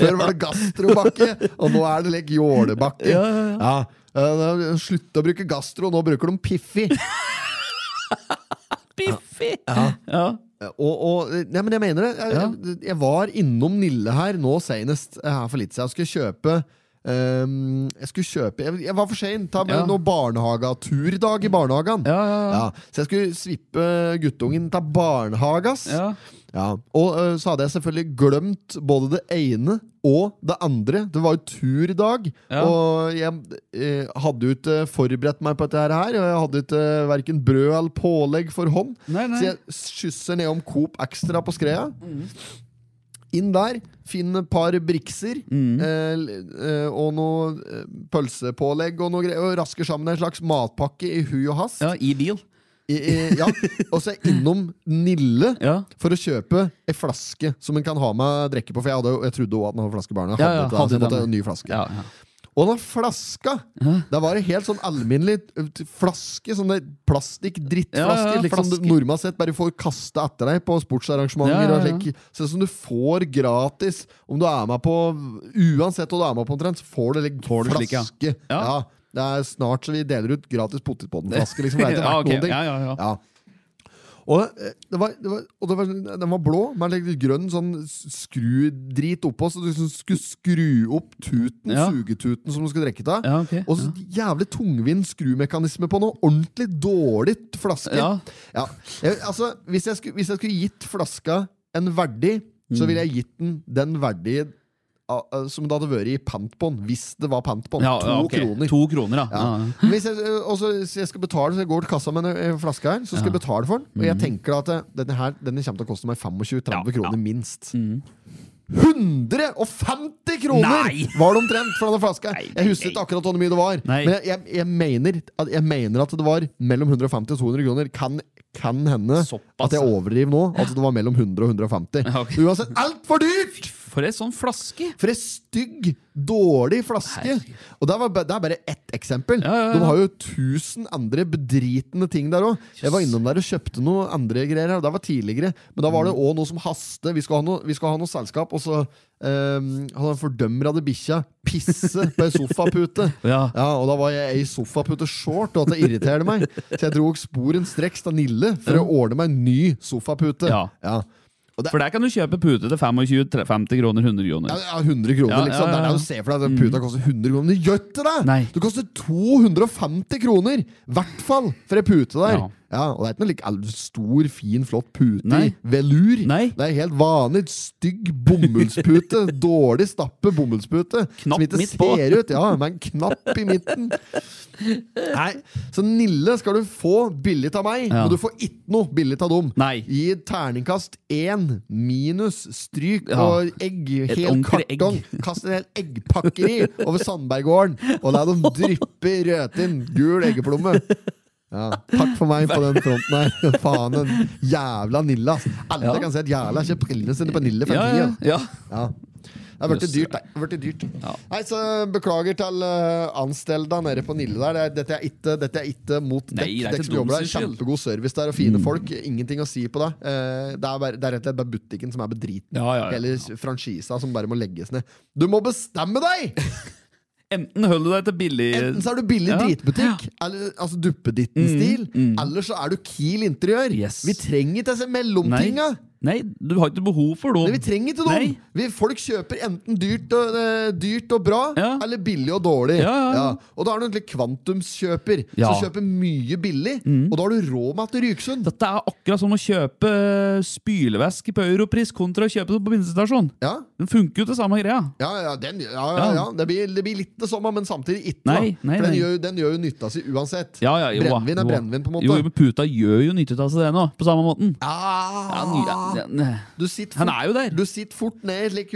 S2: før var det Gastro Bakke, og nå er det like Jåle Bakke. Ja, eh, Slutt å bruke Gastro, nå bruker de Piffi.
S1: Piffi! Ja. ja.
S2: Og, og, nei, men jeg mener det. Jeg, jeg var innom Nille her nå senest eh, her for litt siden. Jeg skulle kjøpe ehm, Jeg skulle kjøpe Jeg, jeg var for sein. Ta med
S1: Ja.
S2: noe barnehageturdag i barnehagen.
S1: Ja, ja, ja.
S2: Ja, så jeg skulle svippe guttungen til barnehagas.
S1: ja.
S2: Ja. Og eh, så hadde jeg selvfølgelig glemt både det ene og det andre. Det var jo turdag,
S1: Ja.
S2: og jeg eh, hadde jo ikke forberedt meg på dette her. Og jeg hadde ikke uh, verken brød eller pålegg for hånd.
S1: Nei, nei. Mm.
S2: Så jeg skysser nedom Coop Extra på skreia. Inn der, finn et par brikser
S1: Mm.
S2: eh, l- eh, og noe eh, pølsepålegg og noe greier. Og rasker sammen en slags matpakke i hui og hast.
S1: ja I bil.
S2: I, i, ja. Og så er jeg innom Nille
S1: Ja.
S2: for å kjøpe ei flaske som en kan ha med drikke på. For jeg, hadde, jo- jeg trodde også at den hadde flaske i barna. Jeg
S1: Ja, ja,
S2: hadde ikke, altså, jeg
S1: hadde
S2: måtte
S1: den.
S2: ha en ny flaske.
S1: Ja, ja.
S2: Og den flaska! Det var en helt sånn alminnelig ø, t- flaske. Sånn der plastikk-drittflaske.
S1: Ja, ja,
S2: liksom du
S1: flaske.
S2: nordmenn sett bare får kaste etter deg på sportsarrangementer.
S1: Ja, ja, ja.
S2: og slik. Sånn som du får gratis om du er med på Uansett hva du er med på, omtrent, så får du litt
S1: Får du
S2: flaske.
S1: slik, ja.
S2: ja.
S1: Ja.
S2: Det er snart så vi deler ut gratis potetbåndflaske. Liksom. Det er ikke
S1: Ja,
S2: verdt
S1: ok.
S2: noen ting.
S1: Ja, ja, ja.
S2: Ja. Og, eh, det var, det var, og det var, den var blå, med litt grønn sånn s- skrudrit oppå, så du liksom skulle skru opp tuten,
S1: Ja.
S2: sugetuten som du skulle drikke av.
S1: Ja, ok.
S2: Og så jævlig tungvint skrumekanisme på noe ordentlig dårlig flaske.
S1: Ja.
S2: Ja. Jeg, altså, hvis jeg, skulle, hvis jeg skulle gitt flaska en verdi, så ville jeg gitt den den verdi som det hadde vært i pant på den, hvis det var pant på den.
S1: Ja,
S2: to
S1: ja, ok.
S2: kroner.
S1: To kroner, ja.
S2: Ja.
S1: ja.
S2: Men Hvis jeg, og så, så jeg skal betale, så jeg går til kassa med en eh, flaske her, så skal jeg betale for den. Og jeg tenker da at eh, denne her denne kommer til å koste meg 25-30
S1: Mm. Ja, Mm.
S2: kroner
S1: ja.
S2: minst. 150 kroner
S1: Nei!
S2: var det omtrent for denne flaska! Jeg husker ikke akkurat hvor mye det var,
S1: Nei.
S2: men jeg, jeg, jeg, mener at, jeg mener at det var mellom 150 og 200 kroner. Kan, kan hende
S1: Såpass,
S2: at jeg
S1: ja.
S2: overdriver nå, at det var mellom 100 og 150.
S1: Ja, ok.
S2: Uansett, altfor dyrt!
S1: For ei sånn flaske!
S2: For ei stygg, dårlig flaske!
S1: Herregud.
S2: Og det, var, ba- det er bare ett eksempel.
S1: Ja, ja, ja.
S2: De har jo tusen andre bedritne ting der òg. Jeg var innom der og kjøpte noe andre greier. her, og Det var tidligere. Men da var det
S1: Mm.
S2: òg noe som haster. Vi skal ha noe, vi skal ha noe selskap, og så um, hadde en fordømrede bikkja pisse på ei sofapute.
S1: Ja.
S2: Og da var jeg ei sofapute short, og at det irriterte meg. Så jeg dro sporenstreks til Nille for å ordne meg en ny sofapute.
S1: Ja.
S2: Og det
S1: For der kan du kjøpe pute til 25, 30, 50 kroner, 100
S2: ja,
S1: kroner.
S2: ja, 100 kroner,
S1: Ja,
S2: liksom.
S1: ja,
S2: Det
S1: ja,
S2: er
S1: ja.
S2: det du ser for deg. Den puta koster 100 kroner. Men gjør ikke det!
S1: Nei.
S2: Det koster 250 kroner! I hvert fall for ei pute der. Ja.
S1: Ja.
S2: Og det er ikke noe like all- stor, fin, flott pute i
S1: Nei.
S2: velur.
S1: Nei.
S2: Det er helt vanlig stygg bomullspute. Dårlig stappe bomullspute.
S1: Knapp
S2: som ikke
S1: midt på.
S2: ser ut. Ja, med en knapp i midten. Nei, Så Nille skal du få billig av meg,
S1: Ja.
S2: men du får ikke noe billig av dem.
S1: Nei.
S2: Gi terningkast én minus stryk
S1: Ja.
S2: og egg
S1: Et
S2: hel
S1: ordentlig egg.
S2: kartong. Kast en hel eggpakkeri over Sandberggården, og la dem dryppe i rødtinn. Gul eggeplomme. Ja, takk for meg på den fronten her. Faen, en jævla Nilla. ass. Alle
S1: Ja.
S2: kan si at jævla ikke brillene sine på Nille for
S1: Ja,
S2: en
S1: ja,
S2: tid.
S1: ja.
S2: Ja. Det har blitt dyrt. Det har blitt dyrt.
S1: Ja.
S2: Nei, så beklager til uh, anstellda nede på Nille der. Det er- Dette er ikke, dette er ikke mot
S1: Nei,
S2: dekk.
S1: det er
S2: Dekk
S1: ikke
S2: som jobber der.
S1: deres skyld. Mm.
S2: Kjempegod service der og fine folk. Ingenting å si på det. Eh, det, er bare, det er rett og slett bare butikken som er bedriten.
S1: Ja, ja, ja.
S2: Hele franchisa som bare må legges ned. Du må bestemme deg!
S1: Enten holder du deg til billig
S2: Enten så er du billig
S1: Ja. Mm,
S2: dritbutikk, eller, altså duppeditten-stil, eller så er du Kiel interiør.
S1: Yes.
S2: Vi trenger ikke disse
S1: Nei.
S2: mellomtinga!
S1: Nei, du har ikke behov for
S2: Nei,
S1: dem.
S2: vi trenger ikke dem!
S1: Nei.
S2: Vi, folk kjøper enten dyrt og, eh, dyrt og bra,
S1: Ja.
S2: eller billig og dårlig.
S1: Ja, ja, ja.
S2: Og da er du egentlig kvantumskjøper,
S1: Ja. Mm.
S2: som kjøper mye billig, og da har du råd med til Ryksund.
S1: Dette er akkurat som å kjøpe eh, spylevæske på europris kontra å kjøpe det på bensinstasjon.
S2: Ja.
S1: Den funker jo til samme greia.
S2: Ja, ja, den, ja, ja, ja. Det, blir, det blir litt det samme, men samtidig ikke. da.
S1: Nei, nei,
S2: For den
S1: nei.
S2: gjør, jo- den gjør jo nytta si uansett.
S1: Ja, ja, jo, da,
S2: brennevin er
S1: jo da.
S2: brennevin, på en måte.
S1: Jo, men puta gjør jo nytte av seg det nå, på samme måten. Ja, den,
S2: Ah,
S1: ja, den- eh,
S2: du sitter
S1: han
S2: fort-
S1: er jo der.
S2: Du sitter fort ned i slik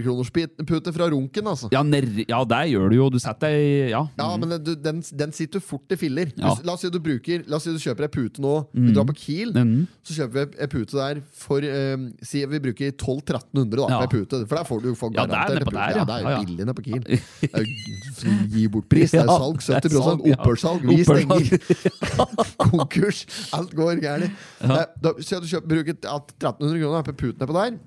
S2: 100-kronerspute fra runken, altså. Ja,
S1: Ja, nær- ja, der gjør du jo. Du setter deg Ja.
S2: men det- du, den, den sitter fort i filler. Du-
S1: Mhm. Ja. Mhm.
S2: La oss si du bruker La oss si du kjøper ei pute nå. Vi drar på Kiel, så kjøper vi ei pute der for eh, Si vi bruker 1200-1300 da,
S1: Ja.
S2: for ei pute. For der får du folk
S1: Ja, der
S2: garantert
S1: nede
S2: ei
S1: på
S2: pute.
S1: der,
S2: ja.
S1: ja.
S2: det er
S1: Ja,
S2: jo
S1: ja.
S2: billig nede på Kiel. Det er jo Gi bort pris. Det er
S1: Ja,
S2: salg.
S1: det er
S2: 70
S1: salg, ja.
S2: opphørssalg. Vi
S1: Opphørssalg.
S2: stenger. Konkurs. Alt går gærent. Eh, da- Så du kjøper, bruker ja, 1300 kroner på puten på der,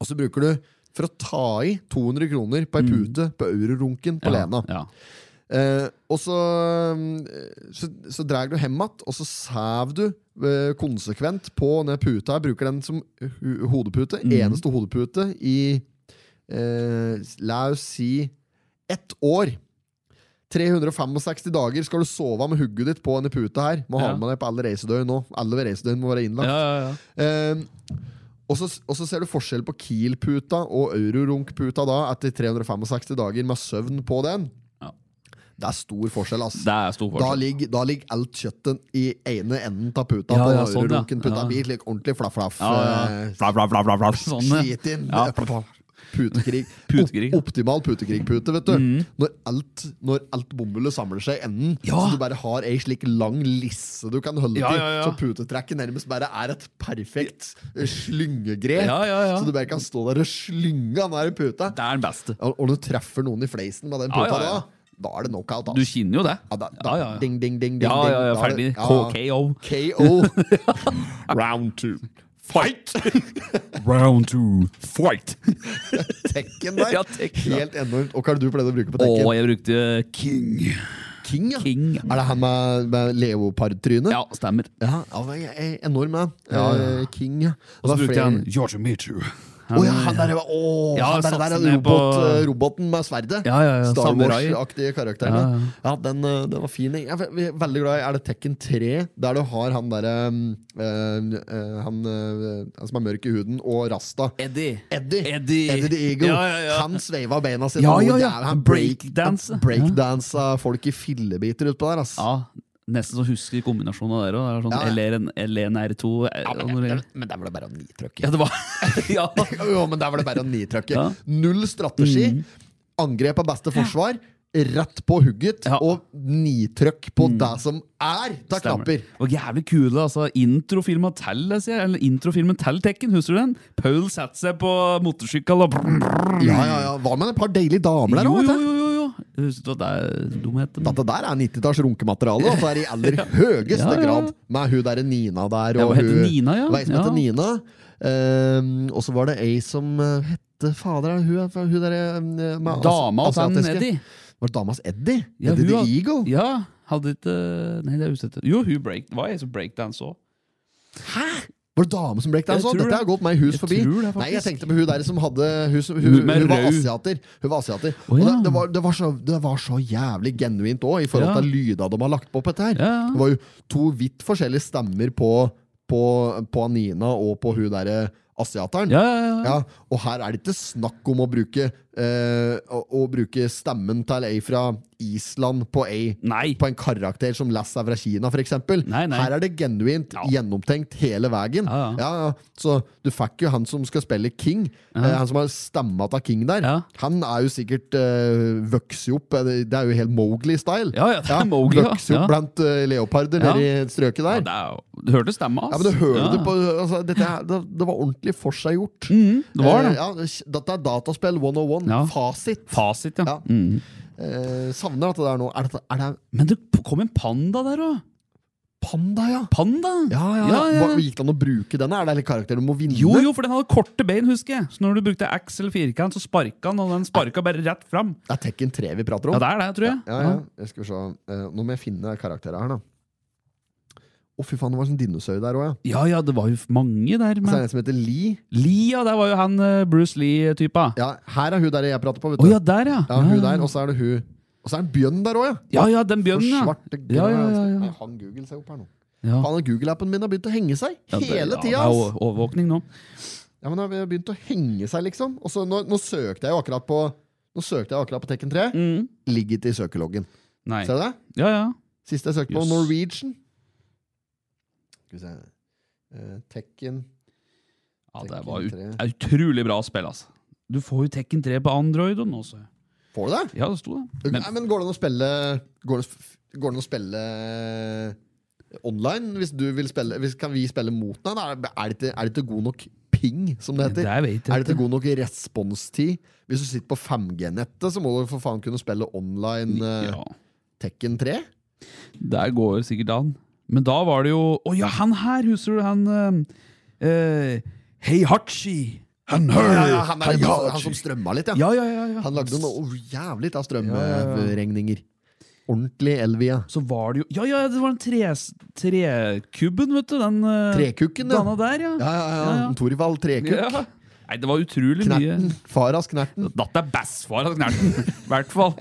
S2: og så bruker du for å ta i 200 kroner på ei pute på eurorunken
S1: Mm.
S2: på
S1: ja,
S2: Lena.
S1: Ja.
S2: Eh, og så, mm, så, så drar du hjem igjen, og så sæv du eh, konsekvent på denne puta. Jeg bruker den som ho- hodepute. Eneste hodepute i eh, La oss si ett år. 365 dager skal du sove med hugget ditt på denne puta her. Må ha
S1: Ja.
S2: med deg på alle reisedøgn nå. Alle reisedøgn må være innlagt.
S1: Ja, ja, ja.
S2: Ehm, og så, og så ser du forskjell på Kiel-puta og Eurorunk-puta da etter 365 dager med søvn på den.
S1: Ja.
S2: Det er stor forskjell,
S1: Det
S2: ass.
S1: er stor
S2: Da
S1: forskjell.
S2: ligger, da ligger alt kjøttet i ene enden av puta.
S1: Ja,
S2: på
S1: ja, sånn, ja.
S2: Eurorunken-puta
S1: Ja.
S2: blir slik ordentlig flaff-flaff.
S1: Ja, ja.
S2: eh,
S1: Bla, bla, bla, bla, bla. Sånn, ja.
S2: Skit inn.
S1: Ja.
S2: Putekrig.
S1: Putekrig, ja.
S2: Op optimal putekrigpute, vet du. Når, alt, når alt bomullet samler seg i enden,
S1: Ja.
S2: så du bare har ei slik lang lisse du kan holde
S1: Ja,
S2: til,
S1: ja, ja.
S2: så putetrekket nærmest bare er et perfekt eh, slyngegrep.
S1: Ja, ja, ja.
S2: Så du bare kan stå der og slynge den der puta.
S1: Det er den beste.
S2: Og, og du treffer noen i fleisen med den
S1: Ja,
S2: puta
S1: ja, ja.
S2: da, da er det knockout,
S1: Du
S2: ass.
S1: kjenner jo det.
S2: Ja, da, da,
S1: Ja, ja, ja.
S2: Ding, ding, ding, ding,
S1: Ja, ja, ja,
S2: ding. Da er
S1: ferdig.
S2: det- ja, ja.
S1: KO.
S2: KO.
S1: Round two. Fight! Round two. Fight!
S2: Tekken der.
S1: Ja, Tekken, ja.
S2: Helt enormt. Og hva er det du pleide å bruke på
S1: Å,
S2: Tekken?
S1: jeg brukte King.
S2: King, ja.
S1: King.
S2: Er det han med, med leopardtrynet?
S1: Ja, stemmer.
S2: Ja, han var e- enorm, ja.
S1: Ja, ja.
S2: Eh, King, ja.
S1: Og så
S2: Det var
S1: brukte
S2: flere-
S1: jeg han George Michu.
S2: Å ja, han der, var- å,
S1: Ja,
S2: han der, der
S1: satsen
S2: er
S1: ned på-
S2: robot, eh, roboten med sverdet.
S1: Ja, ja, ja,
S2: Star
S1: samurai.
S2: Wars-aktige karakterene.
S1: Ja,
S2: Ja,
S1: ja.
S2: den, eh, den var fin. Jeg er ve- ve- veldig glad i Er det Tekken 3, der du har han derre han, eh, han som er mørk i huden, og Rasta.
S1: Eddie.
S2: Eddie.
S1: Eddie.
S2: Eddie the Eagle.
S1: Ja, ja, ja.
S2: Han sveiva beina sine.
S1: Ja,
S2: og
S1: ja, ja.
S2: jævlig- Han
S1: Breakdance.
S2: breakdansa breakdansa folk i fillebiter utpå der, ass.
S1: Ja, nesten så husker kombinasjonen av dere òg.
S2: Ja, ja.
S1: Sånn LNR2
S2: Ja, men, det, men det er vel bare å nitrykke.
S1: Ja, det var Ja,
S2: Jo, men det er vel bare å nitrykke.
S1: Ja. Mm.
S2: Null strategi. Angrep av beste forsvar. Rett på hugget,
S1: Ja. Mm.
S2: og nitrykk på det som er av knapper.
S1: Og jævlig kule, altså. Introfilmen til, jeg sier. Eller introfilmen til Tekken, husker du den? Paul satte seg på motorsykkel og brrr, brrr.
S2: Ja, ja, ja. Hva med et par deilige damer der?
S1: Jo, jo,
S2: da, vet du?
S1: jo, jo, jo. Husker du at det er dumheten?
S2: Dette der er 90-talls runkemateriale, og så er det i aller høyeste
S1: Ja, ja, ja.
S2: grad med hun derre Nina der.
S1: Ja,
S2: Og
S1: hun heter Nina, ja.
S2: Hva er det som
S1: Ja.
S2: heter Nina. Ehm, og så var det ei som eh, hette Fader, er det hun, er fra- hun derre eh, med as-
S1: Dama og San
S2: asiatiske?
S1: Eddie.
S2: Var det damas Eddie?
S1: Ja,
S2: Eddie
S1: hun
S2: the
S1: har-
S2: Eagle?
S1: Ja, hadde ikke Nei, det er usett. Jo, hun break, var jeg som breakdance òg.
S2: Var det dame som breakdance
S1: Jeg
S2: også?
S1: tror
S2: Dette har gått meg hus
S1: Jeg
S2: forbi.
S1: tror det, faktisk.
S2: Nei, jeg tenkte på hun der som hadde Hun, som, hun,
S1: Hun
S2: hun,
S1: med
S2: var
S1: rød.
S2: asiater. Hun var asiater.
S1: Å,
S2: Og det,
S1: ja.
S2: det, var, det, var så, det var så jævlig genuint òg, i forhold
S1: Ja.
S2: til lyda de har lagt på på dette her.
S1: Ja.
S2: Det var jo to vidt forskjellige stemmer på, på, på Nina og på hun derre asiateren.
S1: Ja, ja, ja.
S2: Ja, og her er det ikke snakk om å bruke, eh, å, å bruke stemmen til ei fra Island på, ei,
S1: Nei.
S2: på en karakter som Lass er fra Kina, f.eks.
S1: Nei, nei.
S2: Her er det genuint
S1: Ja.
S2: gjennomtenkt hele veien.
S1: Ja, ja.
S2: ja. så du fikk jo han som skal spille King, eh, han som har stemma til King der.
S1: Ja.
S2: Han er jo sikkert eh, vokst opp eh, Det er jo helt Mowgli-style.
S1: Ja, ja, det er Mowgli, ja.
S2: Vokst opp
S1: Ja.
S2: blant eh, leoparder
S1: Ja.
S2: nede i strøket
S1: Ja,
S2: der.
S1: det er, jo- du hørte stemma
S2: Ja,
S1: hans.
S2: men du hører
S1: Ja.
S2: det på altså, dette, her- det, det var ordentlig forseggjort.
S1: Mm, det var det.
S2: Eh, ja, dette er dataspill 101.
S1: Ja.
S2: Fasit.
S1: Fasit, ja.
S2: Ja.
S1: Mm.
S2: Eh, savner at det der nå. Er det, er det
S1: Men det kom en panda der òg.
S2: panda, ja?
S1: Panda?
S2: Ja, ja, ja.
S1: Ja, ja, ja.
S2: Hva, gikk det an å bruke denne? Er det en karakter du må vinne?
S1: Jo, jo, for den hadde korte bein, husker jeg. Så når du brukte X eller firkant, så sparka han, og den sparka bare rett fram.
S2: Det er Tekken 3 vi prater om.
S1: Ja, det er det, tror jeg.
S2: Ja, ja. Jeg skal vi se. Eh, nå må jeg finne karakterer her, da. Å, fy faen, det var en sånn dinosaur der òg, ja.
S1: ja, ja, det var jo mange der.
S2: Så er
S1: Men...
S2: det en som heter Lee.
S1: Lia, der var jo han eh, Bruce Lee-typa. Å ja.
S2: Ja, her er hun der jeg prater på, vet du.
S1: ja, der, ja.
S2: Ja, hun der, Og så er det hun. Og så er det en bjønn der òg, ja.
S1: ja, ja, den bjørnen,
S2: For
S1: ja.
S2: svarte
S1: Ja, ja, ja,
S2: grønne-
S1: ja.
S2: Nei, Han Google seg opp her nå.
S1: ja.
S2: Faen, Google-appen min har begynt å henge seg
S1: Ja, det-
S2: hele tida!
S1: Ja, det
S2: ass.
S1: er o- overvåkning nå.
S2: Ja, men det har begynt å henge seg, liksom. Og så nå, nå søkte jeg jo akkurat på Nå søkte jeg akkurat på Tekken 3.
S1: Mm.
S2: Ligget i søkeloggen.
S1: Nei.
S2: Ser du det?
S1: Ja, ja.
S2: Siste jeg søkte på,
S1: Jøss.
S2: Norwegian. Skal vi se Eh, Tekken
S1: ja det
S2: Tekken
S1: var ut,
S2: 3.
S1: det er utrolig bra spill, altså. Du får jo Tekken 3 på Android og nå, så.
S2: Får du det?
S1: Ja, det sto det. Men
S2: Nei, men går det an å spille Går det, går det an å spille eh, online? Hvis du vil spille hvis, Kan vi spille mot deg? da? Er det- er det ikke- er det ikke god nok ping, som det heter?
S1: det vet jeg
S2: Er det ikke
S1: ikke.
S2: god nok responstid? Hvis du sitter på 5G-nettet, så må du for faen kunne spille online eh,
S1: Ja.
S2: Tekken 3.
S1: Der går det sikkert an. Men da var det jo Å ja, han her, husker du han eh, eh, Heihachi. Han her.
S2: Ja, ja, han, er,
S1: Heihachi.
S2: han som strømma litt, ja.
S1: Ja, ja, ja, ja.
S2: Han lagde noe oh, jævlig av
S1: Ja, ja, ja.
S2: strømregninger. Ordentlig Elvia.
S1: Så var det jo Ja, ja, det var den tres- trekubben, vet du. Den eh,
S2: Trekukken, ja.
S1: denne der, ja.
S2: Ja, ja, ja.
S1: Ja, ja.
S2: Torvald Trekukk.
S1: Ja. Nei, det var utrolig
S2: Knerten.
S1: mye.
S2: Faras Knerten.
S1: Datt er bassfar av knerten, i hvert fall.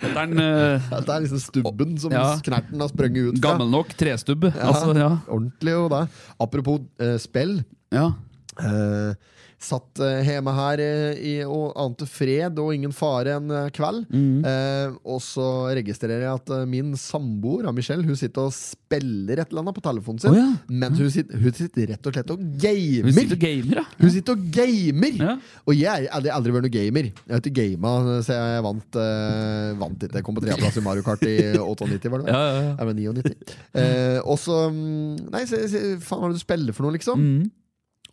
S1: Dette er en eh,
S2: Det er liksom stubben som
S1: Ja.
S2: Knerten har sprunget ut fra.
S1: gammel nok trestubbe. Altså, ja.
S2: Ordentlig jo det. Apropos eh, spill.
S1: ja.
S2: Eh, satt eh, hjemme her eh, i, og ante fred og ingen fare en eh, kveld.
S1: Mm.
S2: Eh, og så registrerer jeg at eh, min samboer ah, Michelle, hun sitter og spiller et eller annet på telefonen sin.
S1: Å, ja.
S2: Men hun sitter, hun sitter rett og slett og
S1: Vi sitter
S2: gamer!
S1: og gamer, ja.
S2: Hun sitter og gamer!
S1: Ja.
S2: Og jeg har aldri, aldri vært noen gamer. Jeg har ikke gama, så jeg vant, eh, vant ikke. Jeg kom på tredjeplass i Mario Kart i 98, var det vel?
S1: Ja, ja, ja.
S2: Nei, men 99. Eh, og så mm, Nei, se, se, faen, hva er det du spiller for noe, liksom?
S1: Mm.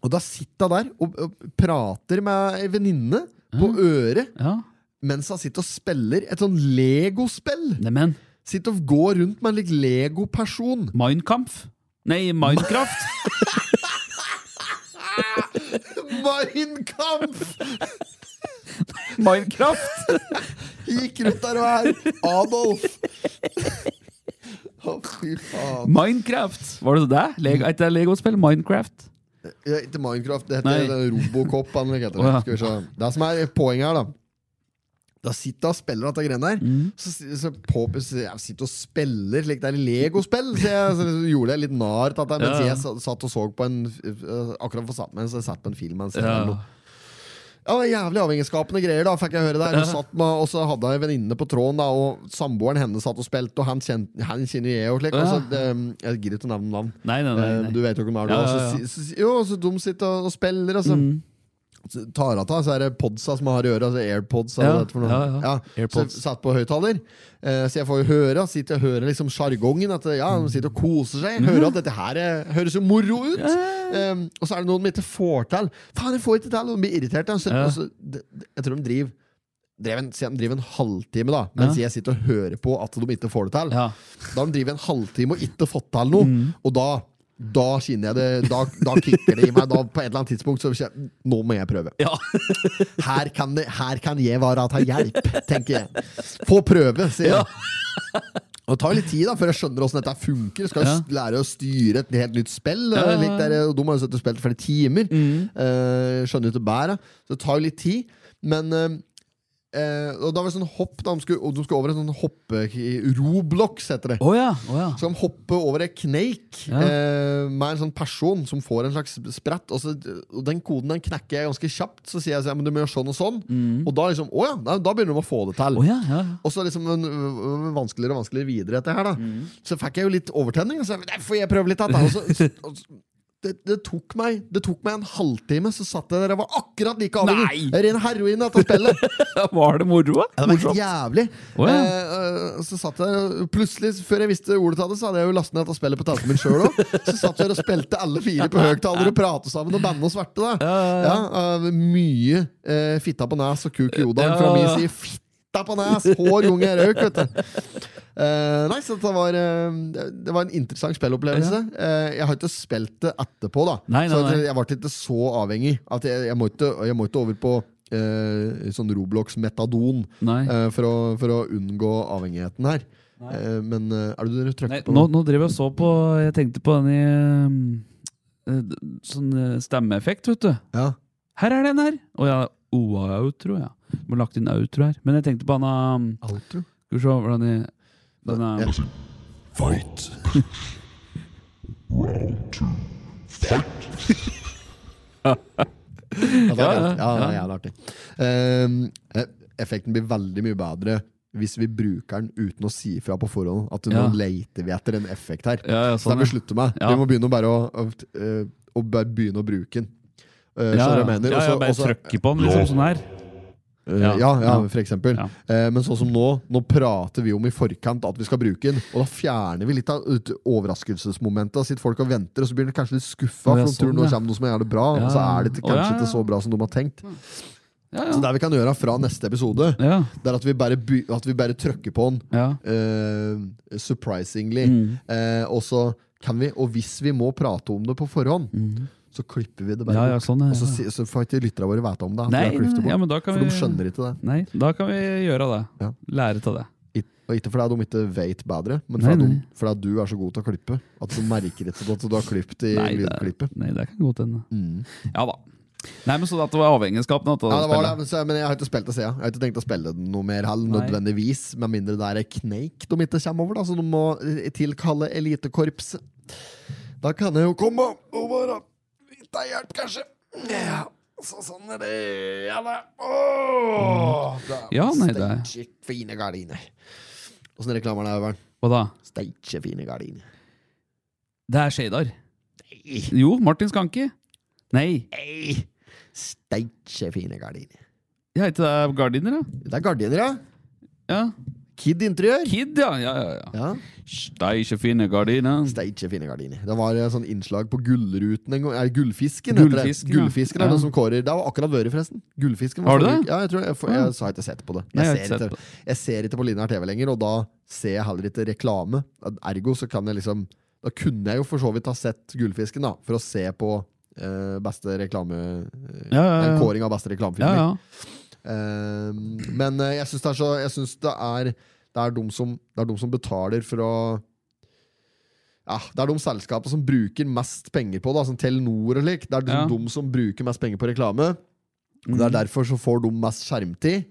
S2: Og da sitter hun der og, og prater med ei venninne på øret
S1: ja.
S2: mens hun sitter og spiller et sånn legospill.
S1: Neimen,
S2: Sitter og går rundt med en lik legoperson.
S1: Minecraft? Nei, Minecraft.
S2: Minecraft!
S1: Minecraft!
S2: Gikk rundt der og her. Adolf. Å, fy faen.
S1: Minecraft! Var det det? Lego, er ikke det Lego-spill? Minecraft?
S2: Ja, ikke Minecraft, det
S1: Nei.
S2: heter det er Robocop. han heter det.
S1: Å, ja.
S2: Skal vi se. Det som er poenget her, da Da sitter jeg og spiller dette greiene der.
S1: Mm.
S2: Så, si- så påpe- så jeg sitter og spiller slik det er i legospill. Så, jeg, så liksom gjorde jeg litt narr til dette. Mens
S1: Ja.
S2: jeg sa- satt og så på en øh, Akkurat for satt meg, så jeg satt på en film. Mens jeg
S1: Ja.
S2: ja. Ja, det var Jævlig avhengighetsskapende greier, da, fikk jeg høre der. Hun satt med, og så hadde jeg en venninne på tråden, da, og samboeren hennes satt og spilte, og han, kjen, han kjenner jeg og slik. Og så, det- um, jeg gidder ikke å nevne navn.
S1: Nei, nei, nei.
S2: Eh,
S1: nei.
S2: Du vet jo hvem det er, du.
S1: Ja,
S2: og
S1: ja,
S2: så
S1: ja. Mm.
S2: si- så si- Jo, så de sitter og- og spiller, og så så tar hun av så er det podsa som har i øra. Altså AirPods.
S1: Ja,
S2: eller hva det heter for noe.
S1: ja, ja.
S2: Så
S1: AirPods.
S2: jeg satt på høyttaler. Eh, så jeg får jo høre, sitter og hører liksom sjargongen. At ja, de sitter og koser seg. Hører at dette her eh, høres jo moro ut. Eh, og så er det noen de ikke får til. Faen, jeg får ikke til! Og de blir irritert. altså. da. Så,
S1: Ja.
S2: og så, de, de, jeg tror de driver drev en, si de driver en halvtime, da mens jeg sitter og hører på at de ikke får det til.
S1: Ja. Mm.
S2: Da har de driver en halvtime og ikke fått til noe, og da da kjenner jeg det, da, da kicker det i meg. Da, på et eller annet tidspunkt så kjenner jeg, Nå må jeg prøve.
S1: Ja.
S2: Her kan, det, her kan jeg være til hjelp, tenker jeg. Få prøve, sier jeg. Og Det tar jo litt tid da før jeg skjønner hvordan dette funker. Jeg skal jo
S1: Ja.
S2: s- lære å styre et helt nytt spill.
S1: Ja, Mm. ja, ja.
S2: Litt der, og de har jo sittet og spilt i flere timer. Eh, skjønner jo ikke bæret. Så det tar jo litt tid. Men eh, eh, Og da var det sånn hopp da, de skulle, og de skulle over en sånn hoppe... Roblox heter det.
S1: Å ja. å ja.
S2: Så de hopper over en kneik
S1: Ja.
S2: eh, med en sånn person som får en slags sprett. Og, så, og den koden den knekker jeg ganske kjapt. Så sier jeg så, ja, men du må gjøre sånn og sånn. Og da liksom, å ja, nei, da begynner de å få det til.
S1: Mm. Å ja, ja. ja.
S2: Og så liksom øh, øh, vanskeligere og vanskeligere videre etter her da
S1: Mm.
S2: Så fikk jeg jo litt overtenning og så, jeg, Får jeg prøve litt dette og så, og så, det, det, tok meg, det tok meg en halvtime Så satt jeg der og var akkurat like avhengig
S1: Nei!
S2: Ren heroin av dette spillet
S1: Var det moro? da?
S2: ja, det var helt jævlig.
S1: Å, ja.
S2: Eh, eh, så satt jeg og Plutselig, før jeg visste ordet av det, så hadde jeg jo lastet ned dette spillet på telefonen min sjøl òg. Så satt jeg og spilte alle fire på høyttaler og pratet sammen og bandet og sverte. Da. Ja, eh, mye eh, fitta på nes og kuk i odalen fra
S1: Ja,
S2: min
S1: ja.
S2: side. Fitta på nes! Hår, unge, røyk, vet du. Eh, nei, så det var, eh, det var en interessant spillopplevelse. Eh, jeg har ikke spilt det etterpå, da.
S1: Nei, nei,
S2: så at
S1: nei.
S2: jeg- jeg ble ikke så avhengig. At jeg, jeg, må ikke, jeg må ikke over på eh, sånn Roblox-metadon
S1: Nei.
S2: eh, for, å, for å unngå avhengigheten her. Eh, men eh, er det du
S1: Nei,
S2: trykker på?
S1: nå, nå drev jeg og så på Jeg tenkte på den i eh, eh, Sånn eh, stemmeeffekt, vet du.
S2: Ja.
S1: Her er den her! Å ja, OA-outro, ja. Må ha lagt inn outro her. Men jeg tenkte på han eh,
S2: Outro?
S1: Skal vi se hvordan de den eh, er,
S2: Ja.
S5: Fight. Round two. Fight.
S2: Ja, det er,
S1: Ja, ja,
S2: jævlig- ja, det er jævlig artig. Eh, eh, effekten blir veldig mye bedre hvis vi bruker den uten å si ifra på forhånd at nå
S1: Ja.
S2: leter vi etter en effekt her.
S1: Ja, ja,
S2: Så det
S1: sånn,
S2: må vi
S1: ja.
S2: slutte med.
S1: Ja.
S2: Vi må begynne å bare å, å, eh, å bare begynne å bruke den.
S1: Ja,
S2: Eh, skjønner du hva jeg
S1: ja,
S2: mener?
S1: ja,
S2: Også-
S1: bare
S2: også-
S1: trykke på den, liksom sånn her.
S2: eh,
S1: Ja.
S2: ja, ja,
S1: Ja.
S2: for eksempel.
S1: Ja.
S2: Eh, men sånn som nå, nå prater vi om i forkant at vi skal bruke den, og da fjerner vi litt av ut- overraskelsesmomentet. Da sitter folk og venter, og så blir de kanskje litt skuffa,
S1: Å, ja,
S2: for de tror
S1: sånn,
S2: nå
S1: ja.
S2: kommer noe som er jævlig bra,
S1: Ja.
S2: og så er det ikke-
S1: Å, ja,
S2: kanskje ikke
S1: ja.
S2: så bra som de har tenkt.
S1: Ja,
S2: Så
S1: ja.
S2: det vi kan gjøre fra neste episode,
S1: ja,
S2: det er at vi bare, by- at vi bare trykker på den
S1: ja.
S2: eh, surprisingly.
S1: Mm.
S2: Eh, og så kan vi, og hvis vi må prate om det på forhånd, så klipper vi det
S1: Mm.
S2: bare
S1: Ja, ja,
S2: bort.
S1: sånn, ja,
S2: Og så,
S1: ja.
S2: si- så får ikke lytterne våre vite om det. at vi
S1: Nei,
S2: har klippet det bort.
S1: ja, men da kan
S2: for de
S1: vi-
S2: skjønner ikke det.
S1: Nei, da kan vi gjøre det.
S2: Ja.
S1: Lære av det.
S2: It- Og ikke fordi de ikke vet bedre, men
S1: Nei,
S2: fordi, de,
S1: nei.
S2: fordi at du er så god til å klippe. At du merker ikke at du har klippet i
S1: Nei, det,
S2: lydklippet. Mm.
S1: nei, det kan godt hende. Ja da. Nei, men Så at det var avhengigheten av dette
S2: Ja, det var det,
S1: spillet.
S2: men så- men jeg har ikke spilt det siden. Jeg har ikke tenkt å spille det noe mer heller,
S1: Nei.
S2: nødvendigvis. Med mindre det er en kneik de ikke kommer over, da, så de må eh, tilkalle elitekorpset. Da kan jeg jo komme og være litt av hjelp, kanskje. Ja, så sånn er det. Ja, da. Åh, da
S1: Mm. Ja, nei, det er-
S2: Steike fine gardiner. Åssen reklamer er det, Øyvind?
S1: Hva da?
S2: Steike fine gardiner.
S1: Det er Shadar.
S2: Nei,
S1: Jo, Martin Skanke. Nei.
S2: nei. Steike fine gardiner.
S1: Jeg heter det Gardiner, da.
S2: Det er gardiner, ja.
S1: Ja.
S2: Kid interiør.
S1: Kid, ja. ja, ja, ja.
S2: Ja.
S1: Steike fine gardiner.
S2: Steike fine gardiner. Det var et sånn innslag på Gullruten en gang. Er det Gullfisken, heter det.
S1: Gullfisken, ja.
S2: Gullfisken er
S1: Ja.
S2: noen som kårer. Det har akkurat vært, forresten. Gullfisken. var
S1: Har du
S2: forrige
S1: det?
S2: uke. Ja, jeg, tror, jeg, får-
S1: Ja.
S2: jeg, så har jeg ikke sett på det.
S1: Nei,
S2: Jeg,
S1: jeg har ikke
S2: ser,
S1: sett på
S2: ikke, jeg ser ikke på linær TV lenger, og da ser jeg heller ikke reklame. Ergo så kan jeg liksom Da kunne jeg jo for så vidt ha sett Gullfisken, da, for å se på eh, beste reklame... eh,
S1: Ja, ja,
S2: En
S1: ja.
S2: kåring av beste reklamefilmer.
S1: ja, ja.
S2: Eh, men eh, jeg syns det er så Jeg synes det er Det er de som, det er de som betaler for å ja, Det er de selskapene som bruker mest penger på det, som Telenor og slik. Det er de,
S1: Ja.
S2: de som bruker mest penger på reklame. Og Det er derfor så får de mest skjermtid.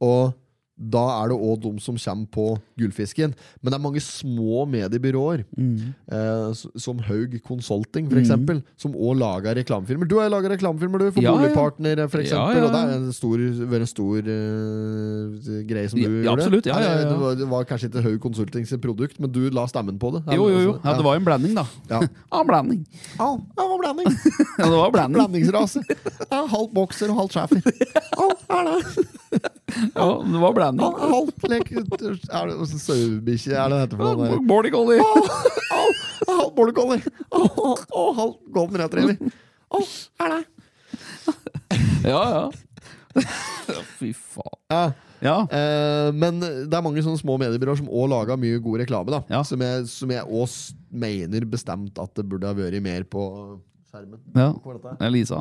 S2: Og da er det òg de som kommer på Gullfisken. Men det er mange små mediebyråer,
S1: Mm.
S2: eh, s- som Haug Consulting, for eksempel, som òg lager reklamefilmer. Du har laga reklamefilmer, du, for
S1: Ja, ja.
S2: Boligpartner, for eksempel.
S1: Ja, ja.
S2: Og det er en stor, vært en stor eh, greie som du
S1: Ja,
S2: gjorde.
S1: absolutt. Ja, ja, ja.
S2: Det, var, det var kanskje ikke Haug Consulting sitt produkt, men du la stemmen på det. Altså,
S1: Jo, jo, jo. Ja,
S2: Ja.
S1: det var jo en blanding, da.
S2: Ja.
S1: Ja, en blanding.
S2: Au, det var blanding.
S1: Ja, det var blanding.
S2: Blandingsrase. Ja, halvt bokser og halvt schæfer. Au, er det?
S1: Ja, det var
S2: Ja,
S1: blanding.
S2: halvt lek Er det sauebikkje? Er det dette for noe? der?
S1: Border collie.
S2: Au, halv border collie. Au, au, au, halv golden retriever. Au, er det?
S1: Ja, ja. Fy faen.
S2: Ja.
S1: Ja.
S2: Eh, men det er mange sånne små mediebyråer som òg lager mye god reklame. da
S1: Ja.
S2: Som jeg, som jeg også mener bestemt at det burde ha vært mer på skjermen.
S1: ja.
S2: Hva er dette?
S1: Det er Lisa.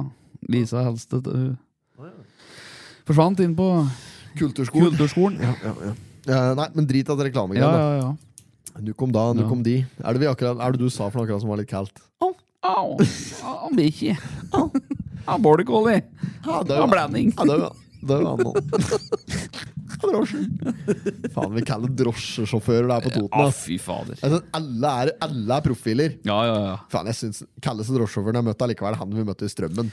S1: Lisa Helstedt. Hun forsvant inn på
S2: Kulturskolen.
S1: kulturskolen. Ja,
S2: Eh, nei, men drit i at
S1: ja, ja.
S2: reklamegreier. da. Nu kom da, nu
S1: Ja.
S2: kom de. Er det, vi akkurat, er det du sa for noe akkurat som var litt kaldt?
S1: Au. Au, Bikkje. Au, border collie.
S2: Ja, det
S1: Au, blanding.
S2: Ja, det var- det var han nå. Drosje. Faen, vi kaller drosjesjåfører der på Toten.
S1: Å,
S2: ass.
S1: fy fader.
S2: Altså, alle, er, alle er profiler.
S1: Ja, ja, ja.
S2: Faen, jeg synes Kalles og drosjesjåføren jeg møtte allikevel han vi møtte i Strømmen.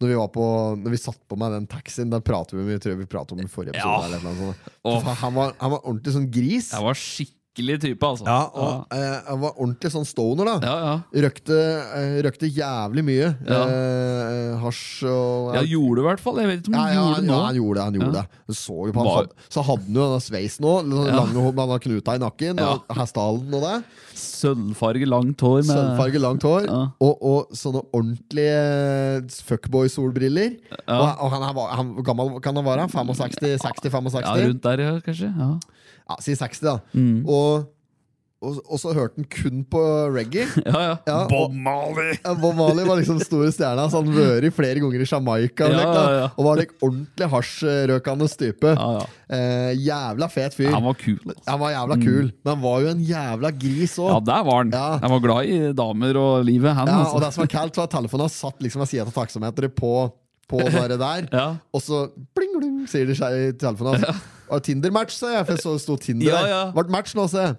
S2: Når vi, var på, når vi satt på meg den taxien, den prater vi om, jeg tror vi pratet om i forrige episode.
S1: Ja.
S2: Eller et eller annet sånt.
S1: Åh.
S2: Faen, han, var, han var ordentlig sånn gris.
S1: Jeg var skikkelig type, altså.
S2: Ja, og eh, han var ordentlig sånn stoner, da.
S1: ja, ja.
S2: Røkte, eh, røkte jævlig mye.
S1: Ja.
S2: Eh, hasj og
S1: Ja, gjorde det i hvert fall. Jeg vet ikke om
S2: ja,
S1: han
S2: ja,
S1: gjorde
S2: han,
S1: det nå.
S2: ja, han gjorde det. han gjorde
S1: Ja.
S2: det Du Så jo på han
S1: Var-
S2: hadde, Så hadde han jo denne sveisen òg.
S1: Ja.
S2: Lange hår, han har knuta i nakken.
S1: Ja.
S2: Og hestehalen og det.
S1: Sølvfarge, langt hår med
S2: Sølvfarge, langt hår
S1: Ja.
S2: og, og sånne ordentlige fuckboy-solbriller. Og, og han, er, va- han hvor gammel kan han være? 65? 60, 65?
S1: Ja, rundt der, ja, kanskje. Ja.
S2: Ja, si 60, da.
S1: Mm.
S2: Og, og, og så hørte han kun på reggae.
S1: Ja, ja.
S2: Ja, Bob Marley! Bob Marley var liksom store stjerna. Så han vært flere ganger i Jamaica. og
S1: Ja,
S2: slik, da.
S1: ja, ja.
S2: Og var like ordentlig hasjrøkende type.
S1: Ja, ja.
S2: Eh, jævla fet fyr.
S1: Han var kul. altså.
S2: Han var jævla kul, men han var jo en jævla gris òg.
S1: Ja, der var han.
S2: Ja.
S1: Han var glad i damer og livet, han.
S2: Ja,
S1: altså.
S2: og det som var kaldt, var at telefonen satt liksom ved siden av taksameteret på, på det der.
S1: Ja.
S2: Og så bling, bling, sier det seg i telefonen. Altså. Og Tinder-match, sa jeg, for så sto Tinder
S1: Ja,
S2: der.
S1: ja.
S2: Vart match nå, sa jeg.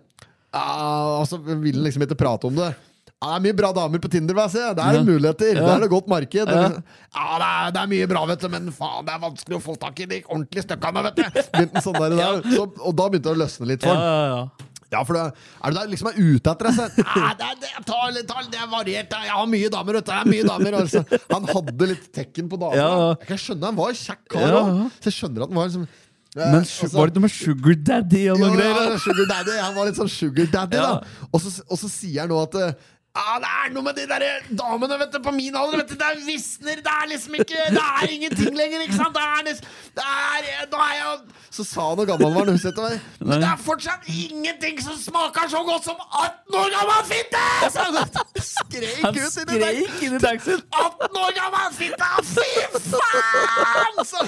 S2: Ah, og så ville han liksom ikke prate om det. Ja, det er mye bra damer på Tinder. Hva, jeg. Det er det muligheter. Det er det godt marked. Ja. det, er, det er mye bra, vet du, men faen, det er vanskelig å få tak i de ordentlige stykkene. vet du. Begynte han sånn der, der. Så, og da begynte det å løsne litt for
S1: Ja,
S2: han.
S1: ja, ja.
S2: Ja, for det, er du der liksom er ute etter deg? så- Nei, det, er- det, er- ta, ta, det er variert. da. Jeg har mye damer. Vet du. Jeg har mye damer altså. Han hadde litt tekken på damer.
S1: Ja.
S2: Jeg kan skjønne Han var en kjekk kar
S1: Ja.
S2: òg. Så jeg skjønner at han var liksom eh,
S1: Men su- var det ikke noe med Sugar Daddy og noe
S2: jo,
S1: greier?
S2: ja, sugar daddy. Han var litt sånn sugar daddy,
S1: Ja.
S2: da. Og så, og så sier han nå at eh, ah, det er noe med de der damene vet du, på min alder. Vet du, det er visner. Det er liksom ikke Det er ingenting lenger, ikke sant? Det er, nes- det er, eh, da er jeg Så sa han hvor gammel han var. nå, husker jeg ikke hva- Men det er fortsatt ingenting som smaker så godt som 18 år gammel fitte! Så han skrek
S1: Han
S2: ut i det der.
S1: skrek inn i taxien!
S2: 18 år gammel fitte! Fy faen! Så...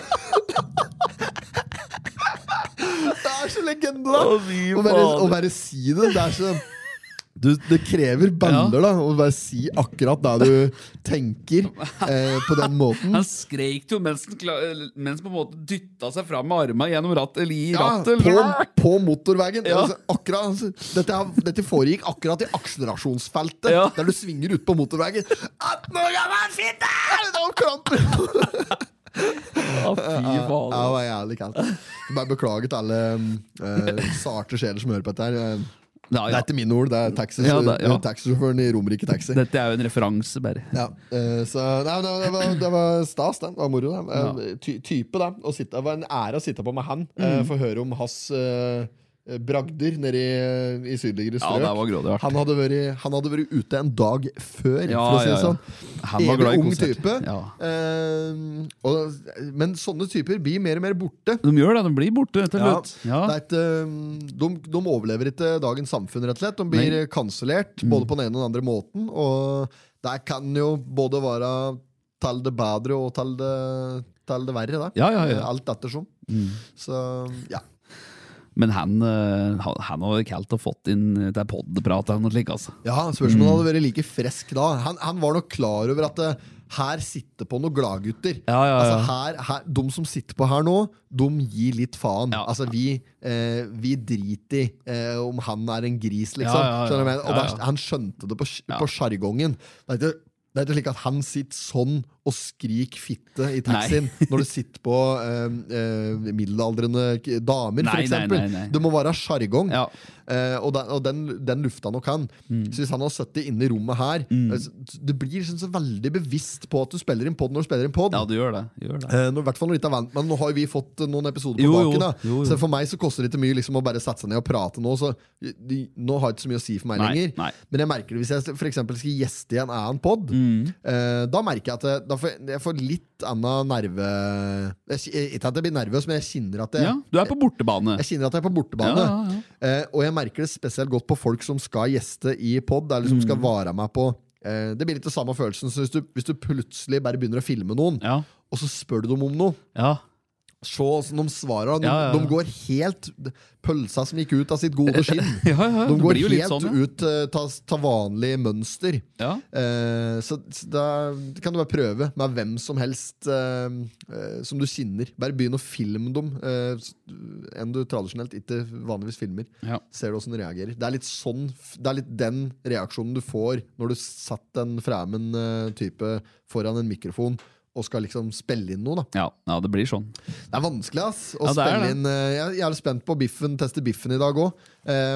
S2: Det er så legende, da.
S1: Å, fy
S2: Å bare,
S1: fader.
S2: å bare si det. Det er så sånn- Du, det krever baller da å bare si akkurat det du tenker, eh, på den måten.
S1: Han skreik jo mens, den kla- mens på en måte dytta seg fram med armene gjennom rattet. Eller i
S2: Ja,
S1: rattet.
S2: på,
S1: eller-
S2: på motorveien.
S1: Ja.
S2: Altså, akkurat, altså, dette, er- dette foregikk akkurat i akselerasjonsfeltet,
S1: Ja.
S2: der du svinger ut på motorveien. 18 år gammel fitte! Det var kramper!
S1: Ja, fy faen.
S2: Ja, det var jævlig kaldt. Jeg Bare beklager til alle eh, sarte sjeler som hører på dette. her Eh,
S1: Ja,
S2: Det
S1: ja.
S2: er ikke mine ord, det er taxi-
S1: Ja, det- ja.
S2: eh, taxisjåføren i Romerike Taxi.
S1: Dette er jo en referanse, bare.
S2: Ja, eh, så, nei, men det, det, var, det var stas, den. Det var moro. den. Eh, Ty, type, da. Å sitte, det var en ære å sitte på med han.
S1: Mm.
S2: eh, Få høre om hans eh, bragder nede i, i sydligere
S1: Ja,
S2: strøk.
S1: det var grådig hardt.
S2: han, hadde vært, han hadde vært ute en dag før,
S1: Ja,
S2: for å si
S1: ja,
S2: det
S1: ja.
S2: sånn.
S1: Han var glad i
S2: Evig ung
S1: konserter.
S2: type.
S1: Ja.
S2: Eh, og, men sånne typer blir mer og mer borte.
S1: De gjør det. De blir borte til
S2: Ja.
S1: slutt. Ja.
S2: Det er et, um, de, de overlever ikke dagens samfunn, rett og slett. De blir
S1: Nei. Mm.
S2: kansellert både på den ene og den andre måten. Og det kan jo både være til det bedre og til det, til det verre. Da.
S1: Ja, ja, ja. Mm.
S2: Alt ettersom. Så ja.
S1: Men han, eh, han, han hadde ikke helt fått inn eh, til podprat eller noe slikt, altså.
S2: ja Spørs om han hadde vært like frisk da. Han, han var nok klar over at eh, her sitter på noen gladgutter.
S1: Ja, ja, ja.
S2: Altså, her, her, de som sitter på her nå, de gir litt faen.
S1: Ja.
S2: Altså, vi, eh, vi driter i eh, om han er en gris, liksom.
S1: Ja, ja, ja.
S2: Skjønner du hva jeg mener? Og
S1: Ja,
S2: der-
S1: ja.
S2: Han skjønte det på, sj-
S1: Ja.
S2: på sjargongen. Det, er ikke- det er ikke slik at han sitter sånn og skriker fitte i taxien når du sitter på eh, eh, middelaldrende k- damer,
S1: Nei, nei,
S2: f.eks.
S1: nei, nei.
S2: Det må være sjargong.
S1: Ja.
S2: Eh, og den, og den, den lufta nok han.
S1: Mm.
S2: Så hvis han har sittet inne i rommet her altså, Du blir sånn, så veldig bevisst på at du spiller inn pod når du spiller inn pod.
S1: ja, du gjør det. Du gjør det.
S2: Eh, nå- i hvert fall når du ikke er vant med det. Nå har jo vi fått eh, noen episoder på
S1: Jo, jo.
S2: baken. Da.
S1: Jo, jo.
S2: Så for meg så koster det ikke mye liksom, å bare sette seg ned og prate nå. Så eh, de, nå har det ikke så mye å si for meg
S1: Nei,
S2: lenger.
S1: nei.
S2: Men jeg merker det hvis jeg for eksempel skal gjeste i en annen pod.
S1: Mm.
S2: Eh, da merker jeg at jeg, da får jeg, jeg får litt annen nerve jeg, kj- eh, Ikke at jeg blir nervøs, men jeg kjenner at jeg,
S1: Ja, du er på bortebane.
S2: jeg, kjenner at jeg er på bortebane.
S1: Ja, ja, ja.
S2: Eh, og jeg merker det spesielt godt på folk som skal gjeste i pod, eller som
S1: Mm.
S2: skal vare meg på eh, Det blir litt det samme følelsen som hvis du, hvis du plutselig bare begynner å filme noen,
S1: Ja.
S2: og så spør du dem om noe.
S1: ja.
S2: Se åssen de svarer. da. De,
S1: Ja, ja, ja.
S2: de går helt Pølsa som gikk ut av sitt gode skinn.
S1: Ja, ja,
S2: De
S1: det
S2: går
S1: blir jo litt
S2: helt
S1: sånn, ja.
S2: ut av vanlig mønster.
S1: Ja.
S2: Eh, så, så da kan du bare prøve med hvem som helst eh, eh, som du kjenner. Bare begynn å filme dem, eh, s- enn du tradisjonelt ikke vanligvis filmer.
S1: Ja.
S2: Ser du hvordan de reagerer. Det er litt sånn f- Det er litt den reaksjonen du får når du satt en fremmed eh, type foran en mikrofon og skal liksom spille inn noe. da
S1: Ja, ja, det blir sånn.
S2: det er vanskelig ass, å
S1: Ja, det er
S2: spille
S1: det.
S2: inn eh, Jeg jeg er jævlig spent på biffen, teste biffen i dag òg.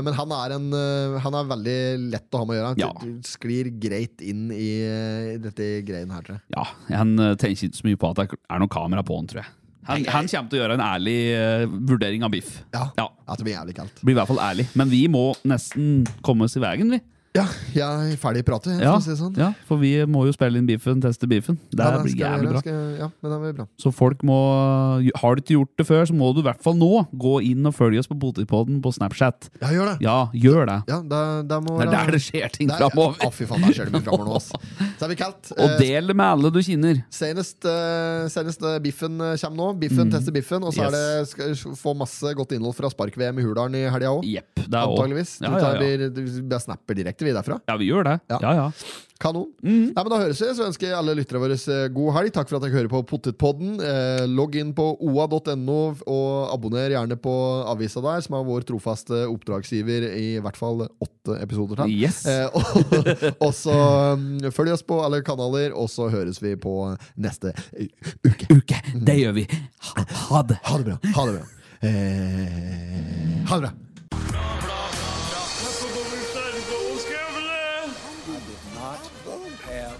S2: Men han er, en, eh, han er veldig lett å ha med å gjøre. Han
S1: Ja.
S2: t- sklir greit inn i, eh, i dette greien her, tror jeg.
S1: Ja, Han eh, tenker ikke så mye på at det er noe kamera på han, tror jeg. Han, han kommer til å gjøre en ærlig eh, vurdering av biff.
S2: Ja,
S1: Ja.
S2: At det blir jævlig kaldt.
S1: Blir i hvert fall ærlig. Men vi må nesten komme oss i veien, vi.
S2: Ja, jeg er ferdig i pratet. jeg,
S1: Ja,
S2: for å si det sånn.
S1: ja, for vi må jo spille inn biffen, teste biffen. Det
S2: Ja, da
S1: blir
S2: skal jeg
S1: jævlig
S2: gjøre,
S1: bra.
S2: skal jeg- ja, men det blir bra.
S1: Så folk må eh, Har du ikke gjort det før, så må du i hvert fall nå gå inn og følge oss på Potipodden på Snapchat.
S2: Ja, gjør det!
S1: Ja, gjør det.
S2: Ja, da, da må
S1: Det er der det skjer ting
S2: Der- Eh, Å,
S1: framover.
S2: fy faen, der skjer det mye framover nå, ass. Så er vi kaldt.
S1: Og del det med alle du kjenner.
S2: Senest, eh, senest eh, biffen eh, kommer nå. Biffen
S1: Mm.
S2: tester biffen. Og så er det, skal vi få masse godt innhold fra spark-VM i Hurdalen i helga òg.
S1: Jepp. Det er også-
S2: Antageligvis.
S1: Ja, ja, ja.
S2: Jeg snapper direkte vi derfra.
S1: ja, vi gjør det.
S2: Ja.
S1: Ja, ja.
S2: Kanon.
S1: Mhm.
S2: Nei, men da høres vi, så ønsker jeg alle lyttere våre eh, god helg. Takk for at dere hører på Pottetpodden. Eh, logg inn på oa.no, og abonner gjerne på avisa der, som er vår trofaste oppdragsgiver i hvert fall åtte episoder til.
S1: Yes.
S2: Eh, og, og så mm, følg oss på alle kanaler, og så høres vi på neste uke.
S1: Uke. Det
S2: Mm.
S1: gjør vi. Ha, ha det.
S2: Ha det bra. Ha det bra. Eh, ha det bra.
S3: Not have